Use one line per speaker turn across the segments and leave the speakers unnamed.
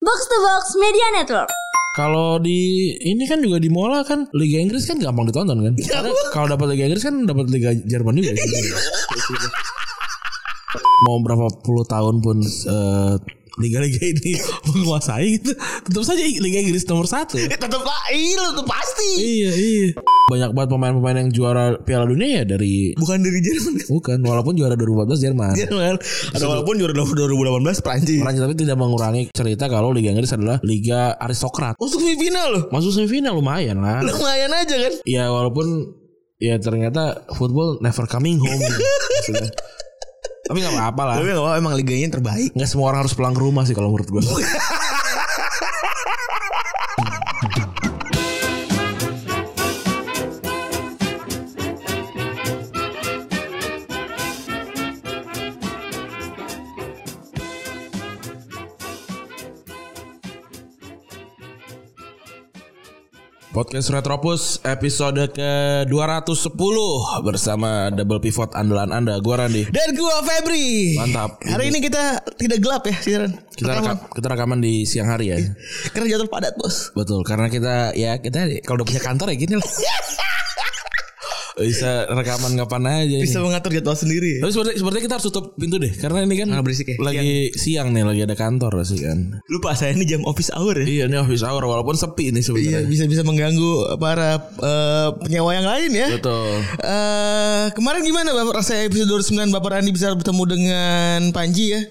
Box to Box Media Network.
Kalau di ini kan juga di Mola kan Liga Inggris kan gampang ditonton kan. Karena Kalau dapat Liga Inggris kan dapat Liga Jerman juga. ya? Mau berapa puluh tahun pun eh, liga-liga ini menguasai gitu, tetap saja Liga Inggris nomor satu.
Ya, tetep lah, iya lu tuh pasti.
iya iya. Banyak banget pemain-pemain yang juara Piala Dunia ya dari
Bukan dari Jerman.
bukan walaupun juara 2014 Jerman.
Jerman. Atau walaupun juara 2018 Prancis.
Perancis tapi tidak mengurangi cerita kalau Liga Inggris adalah Liga Aristokrat.
Untuk semifinal loh.
Masuk semifinal lumayan lah.
Lumayan aja kan.
ya walaupun ya ternyata football never coming home gitu. Maksudnya. tapi nggak apa-apa lah
Tapi gak apa emang liganya yang terbaik.
nggak semua orang harus pulang ke rumah sih kalau menurut gue Podcast Retropus episode ke-210 bersama double pivot andalan Anda, gua Randi.
Dan gua Febri.
Mantap.
Hari ini kita tidak gelap ya siaran.
Kita
Rekaman.
rekam- kita rekaman di siang hari ya.
Karena jadwal padat bos.
Betul, karena kita ya kita kalau udah punya kantor ya gini lah. Bisa rekaman kapan aja.
Bisa
ini.
mengatur jadwal sendiri.
Tapi seperti sepertinya kita harus tutup pintu deh, karena ini kan
Ah, berisik ya.
lagi siang. nih, lagi ada kantor sih kan.
Lupa saya ini jam office hour ya.
Iya, ini office hour walaupun sepi ini
Iya
sebenarnya.
bisa bisa mengganggu para eh, penyewa yang lain ya.
Betul.
Eh, kemarin gimana Bapak rasanya episode 29 Bapak Randi bisa bertemu dengan Panji ya?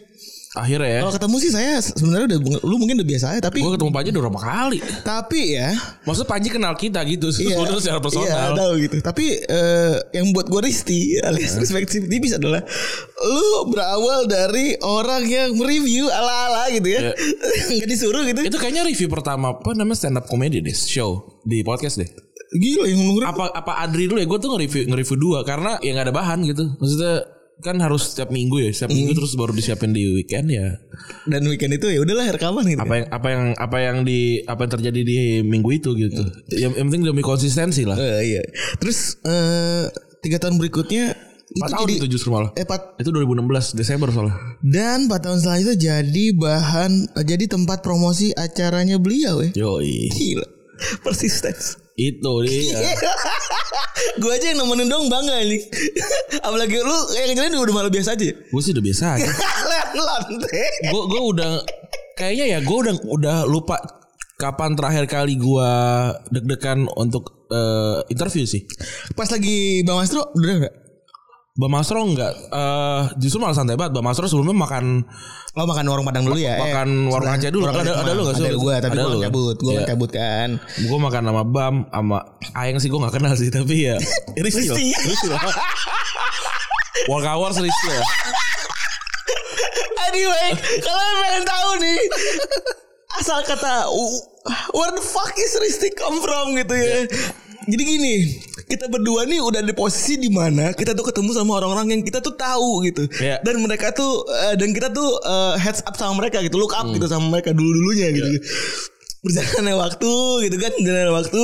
Akhirnya ya.
Kalau ketemu sih saya sebenarnya udah lu mungkin udah biasa aja tapi
Gue ketemu Panji udah berapa kali?
tapi ya
Maksud Panji kenal kita gitu, sebenarnya secara personal.
Iya, tahu gitu. Tapi eh, yang buat gue risti alias respective tipis adalah lu berawal dari orang yang mereview ala-ala gitu ya. Enggak disuruh gitu.
Iya. Itu kayaknya review pertama apa namanya stand up comedy deh, show di podcast deh.
Gila yang lu ngerti.
apa apa Adri dulu ya gue tuh nge-review nge-review dua karena ya nggak ada bahan gitu maksudnya kan harus setiap minggu ya setiap minggu terus baru disiapin di weekend ya
Dan weekend itu ya udahlah rekaman gitu.
apa yang apa yang apa yang di apa yang terjadi di minggu itu gitu yang, yang penting demi konsistensi lah
Eh, iya. Terus eh tiga tahun berikutnya
empat tahun itu justru malah
eh, empat-
itu 2016 Desember soalnya
dan empat tahun selanjutnya jadi bahan eh, jadi tempat promosi acaranya beliau ya.
Yoi Iya.
Gila. Persistence.
itu dia
gue aja yang nemenin dong bangga nih apalagi lu kayak kejadian udah malah biasa aja ya?
gue sih udah biasa aja
lantai
gue gue udah kayaknya ya gue udah udah lupa kapan terakhir kali gue deg-degan untuk eh, interview sih
pas lagi bang Astro udah nggak
Bang Masro enggak eh justru malah santai banget Bang Masro sebelumnya makan
lo makan warung padang dulu ya
makan warung Aceh dulu. Ada- ada lu nggak sih
ada
waktu
gue
itu?
tapi
Ada
gue
lu kan?
cabut gue
Iya.
cabut kan
gue makan sama Bam sama Ayang sih gue nggak kenal sih tapi ya Risti lah
Risti.
Risti lah Work hours ya. Risti lah
anyway kalau yang pengen tahu nih asal kata "Wh- where the fuck is Risti come from gitu ya jadi gini kita berdua nih udah di posisi di mana kita tuh ketemu sama orang-orang yang kita tuh tahu gitu
Iya.
dan mereka tuh eh, dan kita tuh eh, heads up sama mereka gitu look up
Hmm.
gitu sama mereka dulu dulunya gitu
Iya.
berjalannya waktu gitu kan berjalannya waktu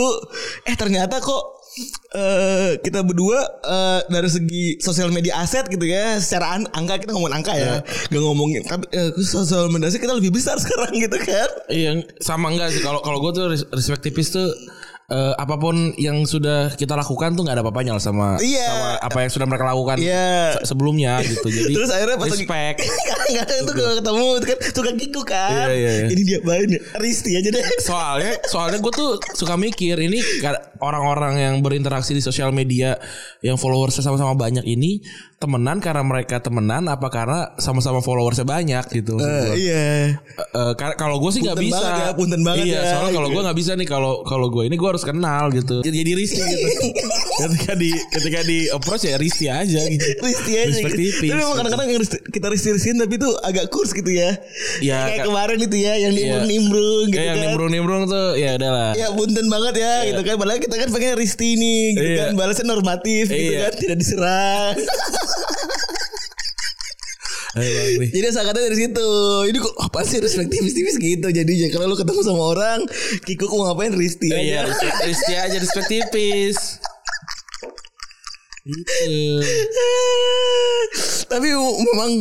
eh ternyata kok eh kita berdua eh, dari segi sosial media aset gitu ya secara an- angka kita ngomongin angka ya
Iya.
gak ngomongin tapi eh, sosial media aset kita lebih besar sekarang gitu kan
Iya sama enggak sih kalau kalau gue tuh res- respect tipis tuh eh, apapun yang sudah kita lakukan tuh nggak ada apa-apanya lah sama
Iya.
sama apa yang sudah mereka lakukan
Iya.
se- sebelumnya gitu jadi
Terus akhirnya pas lagi-
respect
Enggak, itu kalau ketemu itu kan suka gitu kan.
Iya, iya, iya.
Ini dia main ya. Risti aja deh.
soalnya soalnya gue tuh suka mikir ini kar- orang-orang yang berinteraksi di sosial media yang followersnya sama-sama banyak ini temenan karena mereka temenan apa karena sama-sama followersnya banyak gitu maksud
Eh,
gua.
iya.
Eh, kar- kalau gue sih nggak
Punten
bisa
banget ya, punten banget
iya
ya.
soalnya kalau gue nggak bisa nih kalau kalau gue ini gue harus kenal gitu jadi, jadi risih gitu ketika di ketika di approach ya risih aja gitu
Risti aja
Respect
gitu.
tipis.
Tapi memang kadang-kadang yang risti- kita risti-ristiin tapi itu agak kurs gitu ya.
Iya,
Kayak
ka-
kemarin itu ya
Iya.
yang nimbrung-nimbrung gitu
Kayak yang
kan.
nimbrung-nimbrung tuh ya udahlah
Ya punten banget ya gitu kan. Padahal kita kan pengen risti nih gitu
Iya.
kan. Balasnya normatif gitu
Iya.
kan. Tidak diserang.
Ayo, Bang, nih.
Jadi asalkan dari situ. Ini kok apa sih respect tipis-tipis gitu jadinya. Kalau lu ketemu sama orang. Kiko kok ngapain risti aja.
Iya, respect Risti aja respect tipis. Gitu.
Tapi memang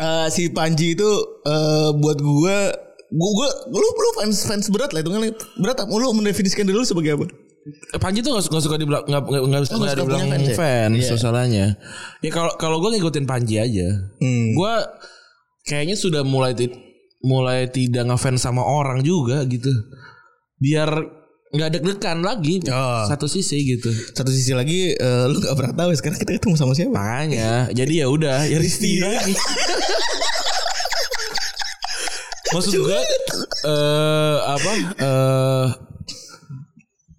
eh, si Panji itu eh, buat gue gue gue lu lu fans fans berat lah itu kan berat apa? lu mendefinisikan diri lu sebagai apa?
Panji tuh gak, su- gak suka dibilang nggak nggak nggak bisa
nggak
nggak
suka
dibilang
punya fans
fans,
ya?
masalahnya. Ya kalau kalau gue ngikutin Panji aja, gue kayaknya sudah mulai ti- mulai tidak ngefans sama orang juga gitu. Biar nggak deg-degan lagi
Oh.
satu sisi gitu.
Satu sisi lagi eh, lu gak pernah tahu ya, sekarang kita ketemu sama siapa?
Makanya jadi ya udah ya Risti
Iya.
lagi. Maksud gue eh apa eh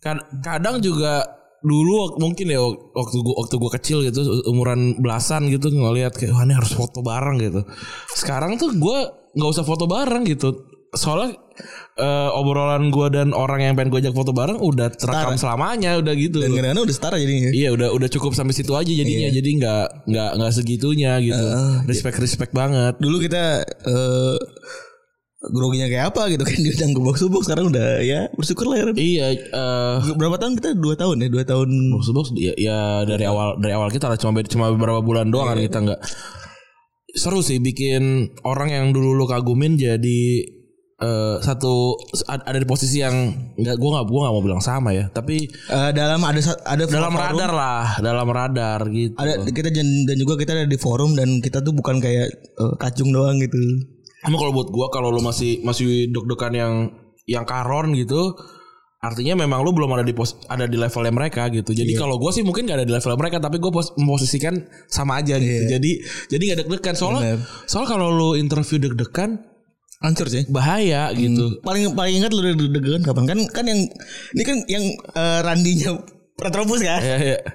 kad- kadang juga dulu wak- mungkin ya wak- waktu gua waktu gua kecil gitu u- umuran belasan gitu ngelihat kayak wah ini harus foto bareng gitu. Sekarang tuh gua nggak usah foto bareng gitu. Soalnya eh, obrolan gua dan orang yang pengen gue ajak foto bareng udah terekam selamanya udah gitu.
Dan kadang-kadang udah setara jadinya.
Iya udah udah cukup sampai situ aja jadinya jadi nggak nggak nggak segitunya gitu respect respect banget
Dulu kita eh groginya kayak apa gitu kan diundang ke box to box sekarang udah ya bersyukur lah ya. Ren.
iya eh
Berapa tahun kita? Dua tahun ya, dua tahun.
box to box ya, ya dari awal dari awal kita lah cuma be- cuma beberapa bulan doang kan kita nggak seru sih bikin orang yang dulu lu kagumin jadi eh satu ad- ada di posisi yang nggak gua nggak gua nggak mau bilang sama ya tapi
Eh, dalam ada sa- ada
dalam
forum.
radar lah dalam radar gitu
ada kita jen- dan juga kita ada di forum dan kita tuh bukan kayak eh, kacung doang gitu.
Emang kalau buat gua kalau lu masih masih deg-degan yang yang karon gitu artinya memang lu belum ada di pos ada di levelnya mereka gitu. Jadi
Iya.
kalau gua sih mungkin gak ada di level mereka tapi gua pos, memposisikan sama aja gitu. Jadi jadi gak deg-degan soalnya
Iya. Bener.
soalnya kalau lu interview deg-degan
Hancur sih.
bahaya gitu.
Paling paling ingat lu udah deg-degan kapan kan kan yang ini kan yang eh, randinya Retrobus kan?
Ya ya.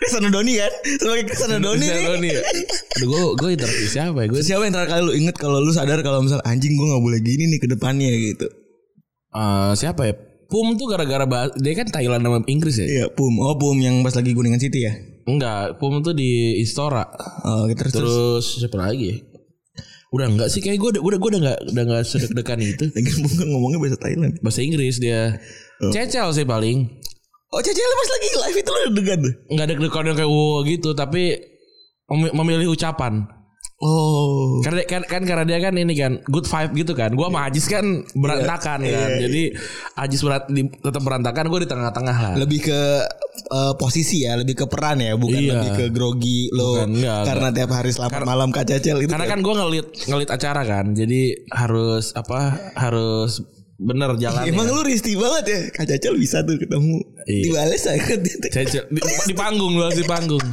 Cristiano Doni kan? Sebagai Cristiano Doni nih.
Cristiano Doni ya. Aduh gua gua interview siapa ya? Gua
Siapa yang terakhir kali lu inget kalau lu sadar kalau misal anjing gua nggak boleh gini nih ke depannya gitu.
Eh, siapa ya? Pum tuh gara-gara bahas- dia kan Thailand sama Inggris ya?
Iya, Pum. Oh, Pum yang pas lagi Kuningan City ya.
Enggak, Pum tuh di Istora.
Oh, gitu, terus terus
Terus siapa lagi ya? Udah enggak sih kayak gue udah gue udah enggak udah enggak sedek-dekan itu.
Lagi Pum kan ngomongnya bahasa Thailand.
Bahasa Inggris dia. Cecel sih paling.
Oh, Cece lu pas lagi live itu lu deg-degan. tuh?
Enggak ada dekan yang kayak wow gitu tapi mem- memilih ucapan.
Oh.
Karena kan, kan karena dia kan ini kan good vibe gitu kan. Gua sama Ajis kan berantakan kan. Jadi Ajis berat, di, tetap berantakan gue di tengah-tengah lah.
lebih ke eh, posisi ya, lebih ke peran ya, bukan
Iya.
lebih ke grogi lo
Bukan, enggak,
karena tiap hari selamat malam Kak Cecel itu.
Karena kan gue ngelit ngelit acara kan. Jadi harus apa? Harus bener jalannya.
Emang lu risti banget ya Kak Cecel bisa tuh ketemu
Iya.
Dibales aja kan
Cecel di, di panggung lu harus di panggung.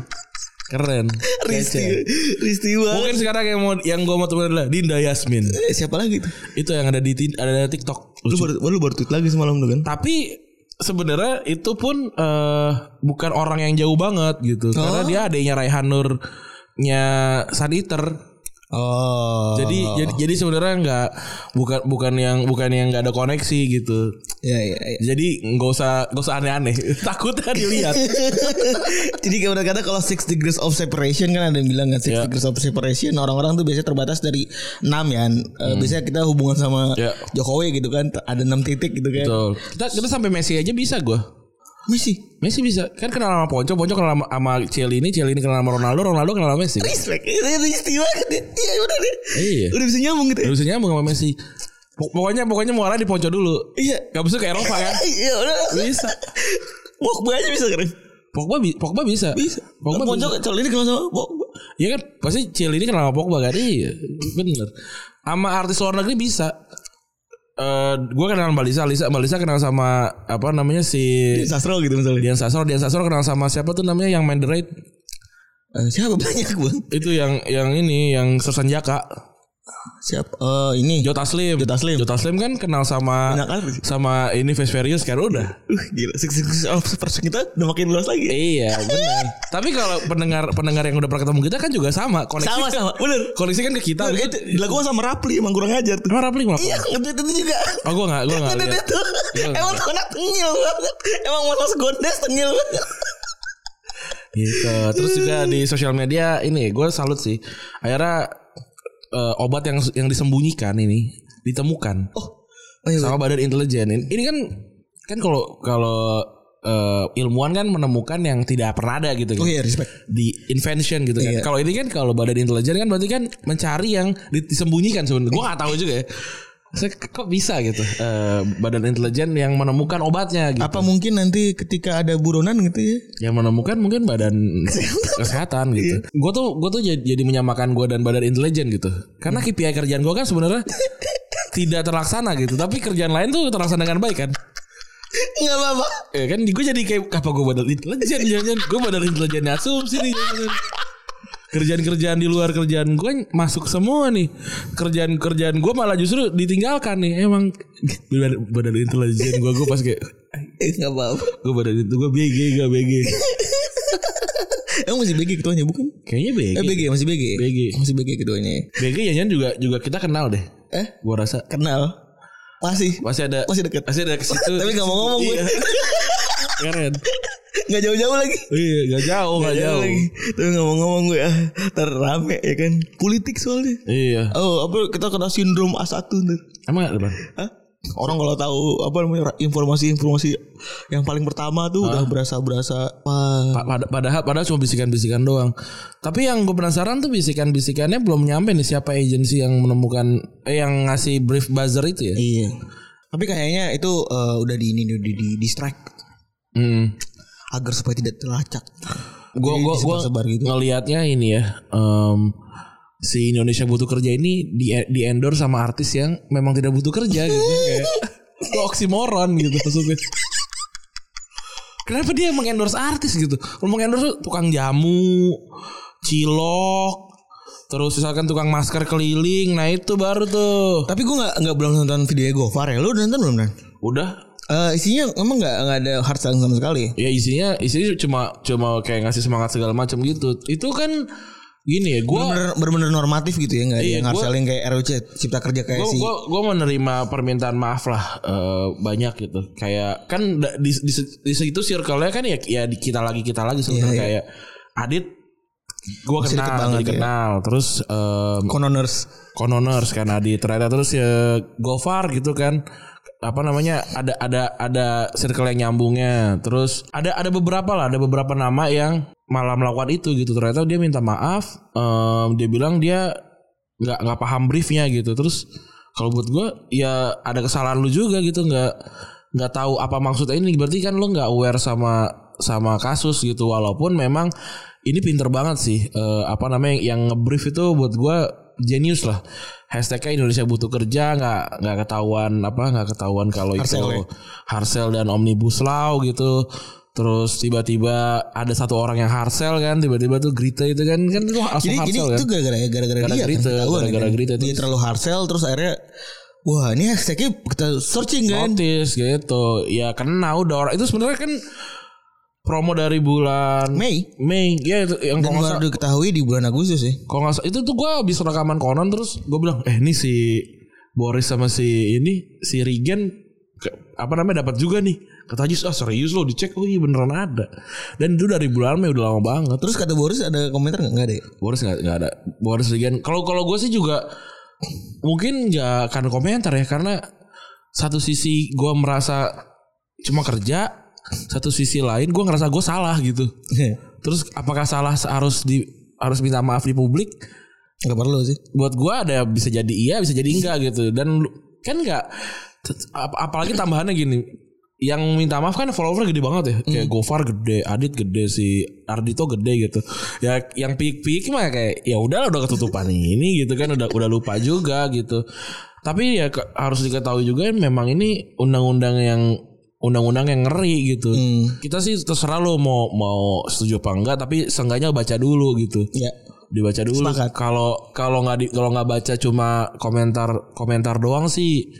Keren.
Risti
Cecel.
Risti banget
Mungkin sekarang yang mau yang gue mau temuin adalah Dinda Yasmin.
Eh, Siapa lagi tuh
Itu yang ada di Tin- ada di TikTok.
Lu baru, lu baru tweet lagi semalam tuh kan
Tapi sebenarnya itu pun eh, bukan orang yang jauh banget gitu. Karena dia adanya Raihan Nur-nya Saniter.
Oh
Jadi jadi jadi sebenarnya nggak bukan bukan yang bukan yang nggak ada koneksi gitu.
Ya ya ya
Jadi nggak usah nggak usah aneh-aneh. Takutnya dilihat.
Jadi kayak kata kalau six degrees of separation kan ada yang bilang kan six
Ya.
degrees of separation orang-orang tuh biasanya terbatas dari 6 ya. Eh,
Hmm.
Biasanya kita hubungan sama
Ya.
Jokowi gitu kan ada 6 titik gitu kan.
Betul. Kita kita sampai Messi aja bisa gue.
Misi
Messi bisa kan kenal sama Ponco, Ponco kenal sama, sama Cielini, Cielini kenal sama Ronaldo, Ronaldo kenal sama Messi.
respect itu itu istimewa gitu. iya udah deh
Iya.
udah bisa nyambung gitu ya.
Harusnya nyambung sama Messi. Pok- Pokoknya pokoknya muara di Ponco dulu.
iya
Gak bisa ke Eropa kan?
iya udah
Bisa.
Pogba aja bisa keren
Pogba bi- Pogba bisa.
bisa
Pogba bisa.
Pojok calon ini kenal sama Pogba
Iya kan? Pasti Cielini kenal sama Pogba kan? Iya. Bener. Sama artis luar negeri bisa. Eh, gue kenal sama Lisa, Lisa, Mbak Lisa kenal sama apa namanya si
Sastro gitu misalnya
Dian Sastro, Dian Sastro kenal sama siapa tuh namanya yang main The Raid?
Eh, siapa banyak bang
Itu yang yang ini yang Sersanjaka.
siapa Eh, ini
Jota Slim.
Jota Slim.
Jota Slim kan kenal sama
Banyak artis.
sama ini Fast Furious kan udah.
uh gila six six of separation kita udah makin luas lagi
Iya benar. Tapi kalau pendengar pendengar yang udah pernah ketemu kita kan juga sama koneksi.
sama sama bener
Koneksi kan ke kita.
Bener, itu dilakukan sama Rapli emang kurang ajar tuh
Emang Rapli ngelakuin?
Iya ngetweet itu juga
Oh gue gak gue gak.
Ngetweet
lihat.
itu
Iya.
Emang tuh anak tengil banget Emang mas gondes tengil banget
Gitu. Terus juga di sosial media ini gue salut sih. Akhirnya eh, obat yang yang disembunyikan ini ditemukan
Oh Oh iya
sama badan intelijen. Ini, ini kan kan kalau kalau eh, ilmuwan kan menemukan yang tidak pernah ada gitu kan.
Oh iya respect
di invention gitu kan.
Iya.
Kalau ini kan kalau badan intelijen kan berarti kan mencari yang di- disembunyikan sebenarnya. Gua gak tahu juga ya. Saya, kok bisa gitu Eh, badan intelijen yang menemukan obatnya gitu.
Apa mungkin nanti ketika ada buronan gitu ya?
Yang menemukan mungkin badan kesehatan gitu. Gue tuh gue tuh jadi, jadi menyamakan gue dan badan intelijen gitu. Karena KPI kerjaan gue kan sebenarnya tidak terlaksana gitu. Tapi kerjaan lain tuh terlaksana dengan baik kan.
Enggak apa-apa.
Ya kan gue jadi kayak apa gue badan intelijen ya jangan gue badan intelijen asumsi nih jangan kerjaan-kerjaan di luar kerjaan gue masuk semua nih kerjaan-kerjaan gue malah justru ditinggalkan nih emang badan, badan intelijen gue gue pas kayak
Eh, enggak apa-apa.
gue badan itu gue BG gue BG
Emang masih BG ketuanya bukan?
kayaknya BG
Eh BG masih BG.
BG.
Masih BG ketuanya. ya?
BG jangan juga juga kita kenal deh
Eh,
gue rasa
kenal. Masih.
pasti ada
Masih deket.
pasti ada ke situ
Tapi nggak mau ngomong gue.
Iya, keren
Nggak jauh-jauh lagi.
iya gak jauh gak jauh
lagi. Tapi nggak mau ngomong gue ah, ntar rame ya kan. Politik soalnya.
iya
Oh, apa kita kena sindrom A1 ntar.
emang ada Bang?
Hah? Orang kalau tahu apa namanya informasi-informasi yang paling pertama tuh udah berasa-berasa wah.
Pa- pada- padahal padahal cuma bisikan-bisikan doang. Tapi yang gue penasaran tuh bisikan-bisikannya belum nyampe nih siapa agensi yang menemukan eh, yang ngasih brief buzzer itu ya.
Iya. Tapi kayaknya itu eh, udah di ini di, di, di distract
Hmm.
agar supaya tidak terlacak.
Gue gua
Jadi
gua
disebar-sebar gitu.
ngelihatnya ini ya. em, si Indonesia butuh kerja ini di di endorse sama artis yang memang tidak butuh kerja gitu kayak itu oksimoron gitu maksudnya. Kenapa dia mengendorse artis gitu? Kalau mengendorse tuh tukang jamu, cilok, terus misalkan tukang masker keliling, nah itu baru tuh.
Tapi gue nggak nggak belum nonton videonya Gofar ya. Lu udah nonton belum Nan?
Udah
Eh, isinya emang nggak nggak ada hard selling sama sekali.
ya isinya isinya cuma cuma kayak ngasih semangat segala macam gitu. Itu kan gini ya, gua
Bener-bener, bener-bener normatif gitu ya nggak ada
Iya,
yang hard
gua-
selling kayak ROC Cipta Kerja kayak
gua,
si
gua, gua menerima permintaan maaf lah eh, banyak gitu. Kayak kan da- di di, se- di situ circle-nya kan ya ya di kita lagi kita lagi sebenarnya
Iya, iya.
kayak Adit gua
Masih deket
kenal,
banget
jadi
ya.
kenal. Terus eh, em,
Cononers.
Kononers kan Adi ternyata terus ya Gofar gitu kan apa namanya ada ada ada circle yang nyambungnya terus ada ada beberapa lah ada beberapa nama yang malah melakukan itu gitu ternyata dia minta maaf em, dia bilang dia nggak nggak paham briefnya gitu terus kalau buat gua ya ada kesalahan lu juga gitu nggak nggak tahu apa maksudnya ini berarti kan lu nggak aware sama sama kasus gitu walaupun memang ini pinter banget sih eh, apa namanya yang ngebrief itu buat gua genius lah hashtagnya Indonesia butuh kerja nggak nggak ketahuan apa nggak ketahuan kalau
Harsel ya?
itu Harsel dan Omnibus Law gitu terus tiba-tiba ada satu orang yang Harsel kan tiba-tiba tuh Grita itu kan kan itu langsung
Jadi jadi
Harsel kan
itu gara-gara gara-gara
Gara
dia kan,
Grita,
ketahuan ya
gara-gara
kan.
Grita
Dia
terus.
terlalu hard sell terus akhirnya wah ini hashtagnya kita searching kan.
notice gitu ya kena udah orang itu sebenarnya kan promo dari bulan
Mei
Mei ya itu yang
dan
kalau nggak
baru
salah-
diketahui di bulan Agustus ya.
kalau nggak salah- itu tuh gue habis rekaman konon terus gue bilang eh ini si Boris sama si ini si Regen ke- apa namanya dapat juga nih kata Jis ah serius lo dicek oh iya beneran ada dan itu dari bulan Mei udah lama banget
Terus kata Boris ada komentar nggak? Nggak ada. Ya?
Boris nggak nggak ada Boris Regen kalau kalau gue sih juga mungkin nggak akan komentar ya karena satu sisi gue merasa cuma kerja satu sisi lain gue ngerasa gue salah gitu terus apakah salah harus di harus minta maaf di publik
Gak perlu sih.
buat gue ada bisa jadi iya bisa jadi enggak gitu dan lu- kan nggak tet- ap- apalagi tambahannya gini yang minta maaf kan follower gede banget ya kayak Gofar gede, Adit gede si Ardito gede gitu ya yang pik-pik mah kayak ya udahlah udah ketutupan ini gitu kan udah udah lupa juga gitu tapi ya ke- harus diketahui juga memang ini undang-undang yang undang-undang yang ngeri gitu kita sih terserah lo mau mau setuju apa enggak tapi seenggaknya baca dulu gitu
Ya.
dibaca dulu.
Sepakat.
Kalau kalau nggak di- kalau nggak baca cuma komentar komentar doang sih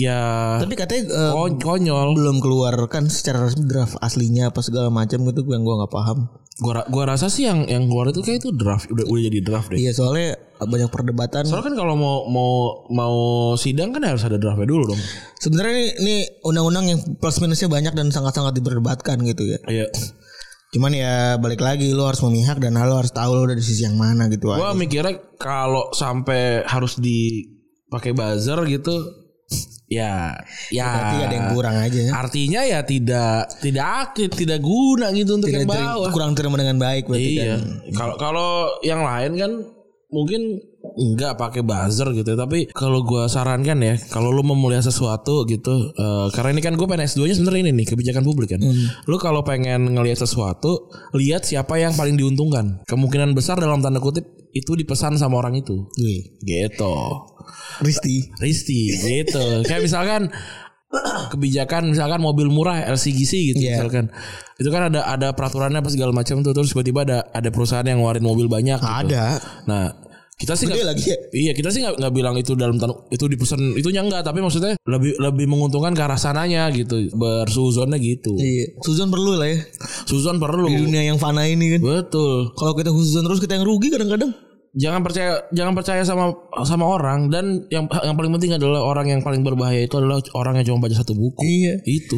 ya
Tapi katanya eh,
kon- konyol.
belum keluarkan secara resmi draft aslinya apa segala macam gitu yang gua nggak paham.
Gua ra- gua rasa sih yang yang keluar itu kayak itu draft udah udah jadi draft deh.
Iya soalnya banyak perdebatan.
Soalnya kan kalau mau mau mau sidang kan harus ada draftnya dulu dong.
Sebenarnya ini- ini undang-undang yang plus minusnya banyak dan sangat-sangat diperdebatkan gitu ya.
Iya.
Cuman ya balik lagi lu harus memihak dan lu harus tahu lu dari sisi yang mana gitu aja.
Gua mikirnya kalau sampai harus dipakai buzzer gitu ya ya
Berarti ada yang kurang aja.
artinya ya tidak tidak aktif tidak guna gitu untuk
Tidak
yang
ter-
bawah
Iya. kan. kurang terima dengan baik berarti
Iya.
kan.
Kalau kalau yang lain kan mungkin enggak pakai buzzer gitu tapi kalau gua sarankan ya kalau lu memulia sesuatu gitu eh, karena ini kan gue pengen S2 nya sebenarnya ini nih kebijakan publik kan lu kalau pengen ngelihat sesuatu lihat siapa yang paling diuntungkan kemungkinan besar dalam tanda kutip itu dipesan sama orang itu gitu
Risti.
Risti gitu kayak misalkan kebijakan misalkan mobil murah LCGC gitu
Iya.
misalkan itu kan ada ada peraturannya apa segala macam tuh terus tiba-tiba ada ada perusahaan yang ngeluarin mobil banyak gitu.
Ada.
Nah, kita sih
Gede
nggak-
lagi ya.
Iya, kita sih nggak nggak bilang itu dalam tanda- itu dipesan itunya enggak, tapi maksudnya lebih lebih menguntungkan ke arah sananya gitu. Bersuzonnya gitu.
Iya. Suzon perlu lah ya
Suzon perlu.
di dunia yang fana ini kan.
Betul.
Kalau kita huzon terus kita yang rugi kadang-kadang.
Jangan percaya jangan percaya sama sama orang dan yang yang paling penting adalah orang yang paling berbahaya itu adalah orang yang cuma baca satu buku.
Iya.
Itu.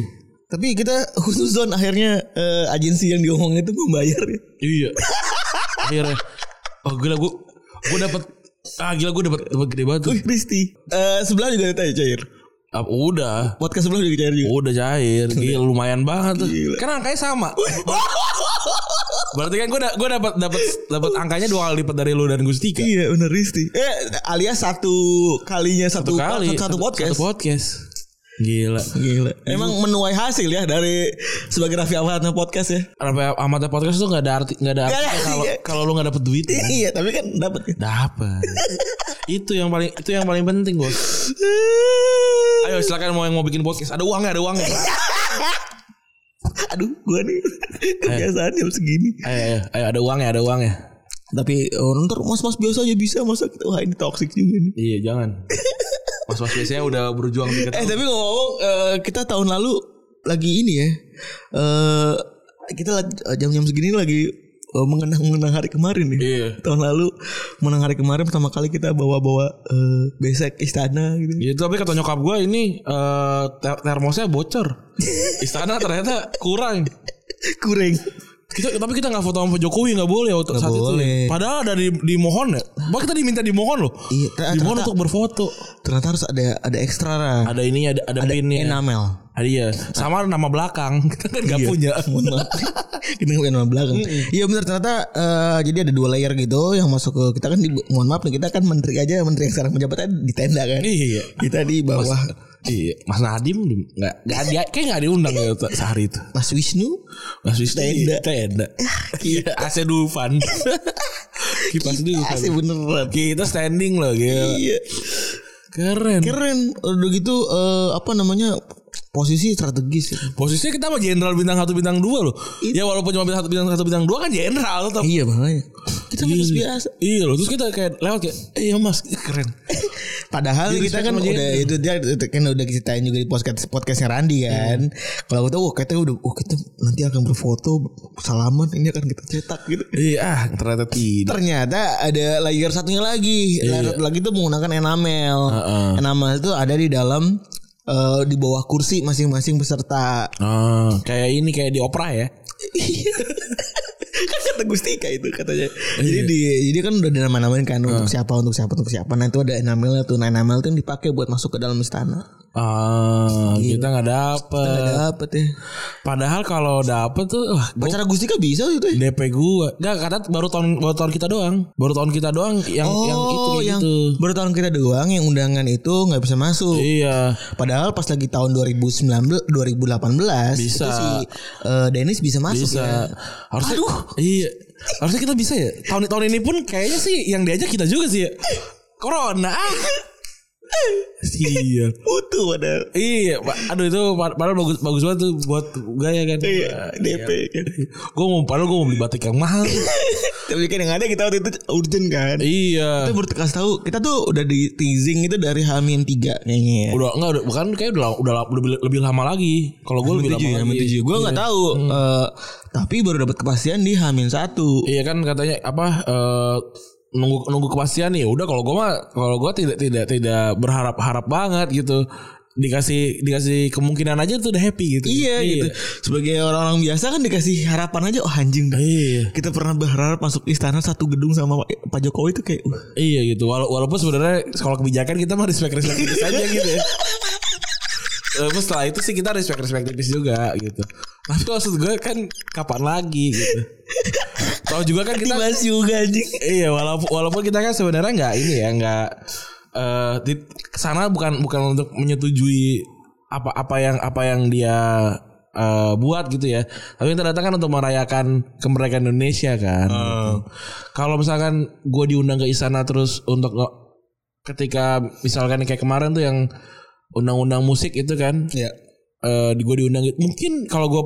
Tapi kita huzon akhirnya eh, agensi yang diomongin itu membayar ya.
Iya. Akhirnya oh gila gue gue dapat ah gila gue dapat dapat gede banget. tuh.
Wih, Risti. Eh sebelah juga ada cair.
Ah, udah.
Podcast sebelah juga cair juga.
Udah cair, gila lumayan banget tuh.
Gila.
Karena angkanya sama. Berarti kan gue da- gue dapat dapat dapat angkanya dua kali lipat dari lu dan Gustika.
Iya bener Risti. Eh alias satu kalinya satu, satu, satu Iya. podcast.
Satu podcast. Gila.
Gila. Emang menuai hasil ya dari sebagai Raffi Ahmad podcast ya.
Apa amat podcast tuh nggak ada arti nggak ada
Nggak ada
arti kalau
artinya.
kalau lu nggak dapet duit. ya.
Iya, tapi kan dapat ya.
Dapat. itu yang paling itu yang paling penting bos. Ayo silakan mau yang mau bikin podcast. Ada uangnya ada uangnya.
Aduh, gua nih kebiasaan jam segini.
Ayo, ayo, ayo ada uangnya ada uangnya.
Tapi eh, orang ntar mas-mas biasa aja bisa masa kita wah ini toxic juga nih.
Iya jangan. Mas mas biasanya udah berjuang bikin.
Eh tapi ngomong-ngomong eh, kita tahun lalu lagi ini ya. Eh kita lagi- jam-jam segini lagi eh, mengenang-mengenang hari kemarin nih.
Iya.
Tahun lalu menang hari kemarin pertama kali kita bawa-bawa eh, besek istana gitu.
Ya tapi kata nyokap gue ini eh, ter- termosnya bocor. Istana ternyata kurang.
Kurang.
Kita, tapi kita nggak foto sama Jokowi nggak boleh waktu saat
boleh.
itu. ya. Padahal ada di, dimohon ya. Bahkan kita diminta dimohon loh.
Iya, ternyata-
dimohon untuk berfoto.
Ternyata harus ada ada ekstra Ra.
Ada ininya ada, ada, pinnya.
enamel.
Ada iya. Sama nama belakang. Kita kan nggak
Iya.
punya.
Mohon maaf. kita nggak punya nama belakang. Iya benar ternyata eh, jadi ada dua layer gitu yang masuk ke kita kan di, mohon maaf nih kita kan menteri aja menteri yang sekarang menjabatnya di tenda kan.
Iya.
Kita di bawah
Iya. Mas Nadim di- nggak nggak dia kayak nggak diundang ya se- sehari itu.
Mas Wisnu
Mas Wisnu
Tenda.
di tenda. Iya. AC Dufan. Kipas Dufan.
asli Iya beneran.
Kita standing loh gila.
Iya.
Keren.
Keren. Udah gitu eh, apa namanya posisi strategis. gitu.
Posisinya kita sama jenderal bintang satu bintang dua loh. Ya walaupun cuma bintang satu bintang satu bintang dua kan jenderal tetap.
Iya makanya. Kita
Gila.
harus biasa.
Iya loh. Terus kita kayak lewat kayak, iya mas keren.
Padahal
Di respect
kita kan
sama
udah
Jenny.
itu dia itu kan udah ceritain juga di podcast podcastnya Randi kan. Kalau kita wah kita udah oh kita nanti akan berfoto salaman ini akan kita cetak gitu.
Iya ah ternyata tidak.
Ternyata ada layer satunya lagi. Layer satu lagi itu menggunakan enamel.
Heeh.
Enamel itu ada di dalam eh, di bawah kursi masing-masing peserta.
Ah, kayak ini kayak di opera ya.
kan kata Gustika itu katanya.
Oh,
Jadi
iya.
di jadi kan udah dinamain-namain kan untuk
Ah.
siapa untuk siapa untuk siapa. Nah itu ada enamelnya tuh. Nah enamel itu yang dipakai buat masuk ke dalam istana.
Ah, kita nggak dapet.
Nggak dapet ya.
Padahal kalau dapet tuh wah, Ah. gua-
Pacar Agustika bisa itu ya?
DP gua. Nggak karena baru tahun baru tahun kita doang. Baru tahun kita doang yang yang itu kayak gitu.
Oh, baru tahun kita doang yang undangan itu nggak bisa masuk.
Iya.
Padahal pas lagi tahun 2019 2018
Bisa.
itu si eh, Dennis bisa masuk
bisa
ya.
harusnya
Aduh.
iya harusnya kita bisa ya tahun tahun ini pun kayaknya sih yang diajak kita juga sih ya corona ah. iya
Utuh padahal.
iya Pak. aduh itu pad- padahal bagus bagus banget tuh buat gaya kan
Iya, DP kan.
gue mau padahal gue mau beli batik yang mahal
Tapi kan yang ada kita waktu itu urgent kan.
iya
Kita baru kasih tahu kita tuh udah di teasing itu dari Hamin 3 kayaknya ya.
udah enggak udah, bukan kayak udah udah lebih, lebih lama lagi kalau gue lebih lama
ya,
lagi Iya.
Gue nggak tahu eh, tapi baru dapat kepastian di Hamin 1.
Iya kan katanya apa eh, nunggu nunggu kepastian nih. Udah kalau gua mah kalau gua tidak tidak tidak berharap harap banget gitu. Dikasih dikasih kemungkinan aja tuh udah happy gitu.
Iya, gitu. Sebagai orang-orang biasa kan dikasih harapan aja oh anjing.
Iya.
Kita pernah berharap masuk istana satu gedung sama Pak Pak Jokowi itu kayak uh,
Iya gitu. Wala- walaupun sebenarnya kalau kebijakan kita mah respect respect tipis aja gitu ya. Walaupun setelah itu sih kita respect respect tipis juga gitu. Tapi maksud gue kan kapan lagi gitu. Tahu juga kan kita
Dibahas juga anjing.
Iya walaupun walaupun kita kan sebenarnya nggak ini ya nggak eh di sana bukan bukan untuk menyetujui apa apa yang apa yang dia eh, buat gitu ya tapi kita datang kan untuk merayakan kemerdekaan Indonesia kan kalau misalkan gue diundang ke istana terus untuk nge- ketika misalkan kayak kemarin tuh yang undang-undang musik itu kan
Iya.
eh gue diundang gitu. mungkin kalau gue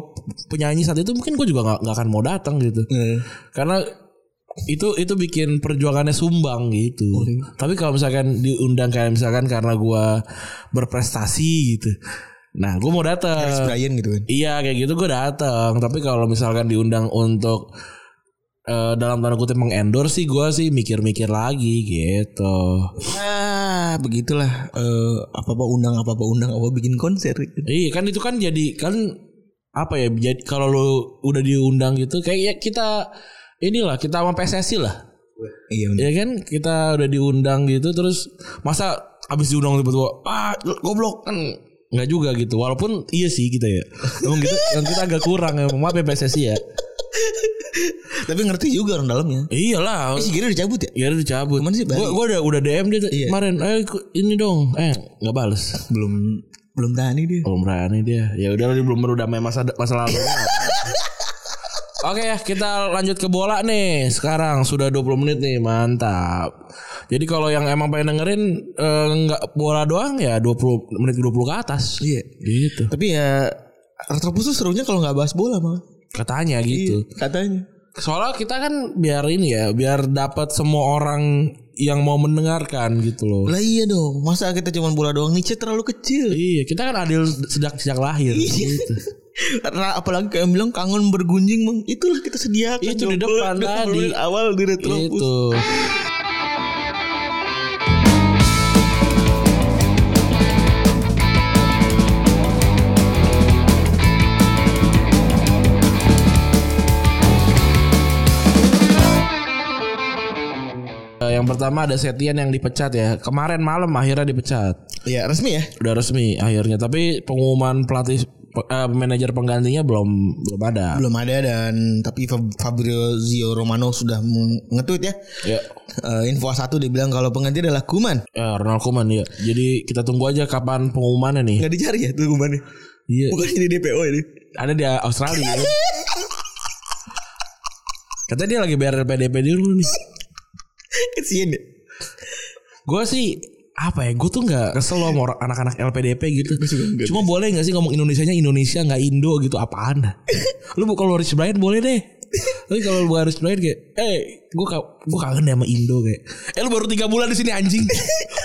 penyanyi saat itu mungkin gue juga nggak nggak akan mau datang gitu
Iya. Eh,
karena itu itu bikin perjuangannya sumbang gitu. Tapi kalau misalkan diundang kayak misalkan karena gua berprestasi gitu. Nah, gua mau datang.
Brian gitu kan.
Iya kayak gitu gue datang. Tapi kalau misalkan diundang untuk eh, dalam tanda kutip mengendorse sih gue sih mikir-mikir lagi gitu.
Ah, begitulah eh apa-apa undang apa-apa undang apa bikin konser. gitu.
Iya kan itu kan jadi kan apa ya jadi kalau lu udah diundang gitu kayak ya kita inilah kita sama PSSI lah.
Iya bener.
Ya kan kita udah diundang gitu terus masa abis diundang tiba-tiba ah goblok kan nggak juga gitu walaupun iya sih kita ya emang gitu yang kita agak kurang emang maaf ya PSSI ya
Tapi ngerti juga orang dalamnya.
iyalah
Eh, si Gary udah cabut ya?
ya udah dicabut
Cuman sih balik.
gua, gua udah udah DM dia tuh
Iya.
kemarin eh ku- ini dong eh nggak bales
Belum belum tahan nih dia.
belum berani dia ya udah dia belum baru damai masa masa lalu Oke ya kita lanjut ke bola nih sekarang sudah 20 menit nih mantap. Jadi kalau yang emang pengen dengerin eh, nggak bola doang ya 20 menit 20 ke atas.
Iya.
Gitu.
Tapi ya Retropus tuh serunya kalau nggak bahas bola malah.
Katanya gitu.
Katanya.
Soalnya kita kan biar ini ya biar dapat semua orang yang mau mendengarkan gitu loh.
Lah iya dong. Masa kita cuma bola doang Niche terlalu kecil.
Iya kita kan adil sejak sejak lahir.
Iya,
gitu.
Ra- Apalagi kayak bilang kangen bergunjing Bang. Itulah kita sediakan
Itu di
Jomblo.
depan
Dua puluh
tadi.
menit awal di Retropus.
Itu. Eh, Yang pertama ada Setian yang dipecat ya. Kemarin malam akhirnya dipecat.
Ya resmi ya.
Udah resmi akhirnya. Tapi pengumuman pelatih pe- eh, manajer penggantinya belum belum ada.
Belum ada dan tapi Fab- Fabrizio Romano sudah meng- nge-tweet ya.
Ya.
Eh, info satu dia bilang kalau pengganti adalah Kuman.
Ya, Ronald Koeman ya. Jadi kita tunggu aja kapan pengumumannya nih.
Nggak dicari ya tuh Kuman.
Iya.
Bukan jadi DPO ini.
Ada di Australia. ya. Katanya dia lagi bayar PDP dulu nih.
Kesian ya.
Gue sih apa ya? Gue tuh nggak kesel loh sama orang- anak-anak LPDP gitu. Cuma boleh nggak sih ngomong Indonesianya Indonesia nggak Indo gitu apaan? lu bu- kalau Rich Brian boleh deh. Tapi kalau lu bukan Rich Brian kayak, eh, gue gue kangen deh sama Indo kayak. Eh lu baru tiga bulan di sini anjing.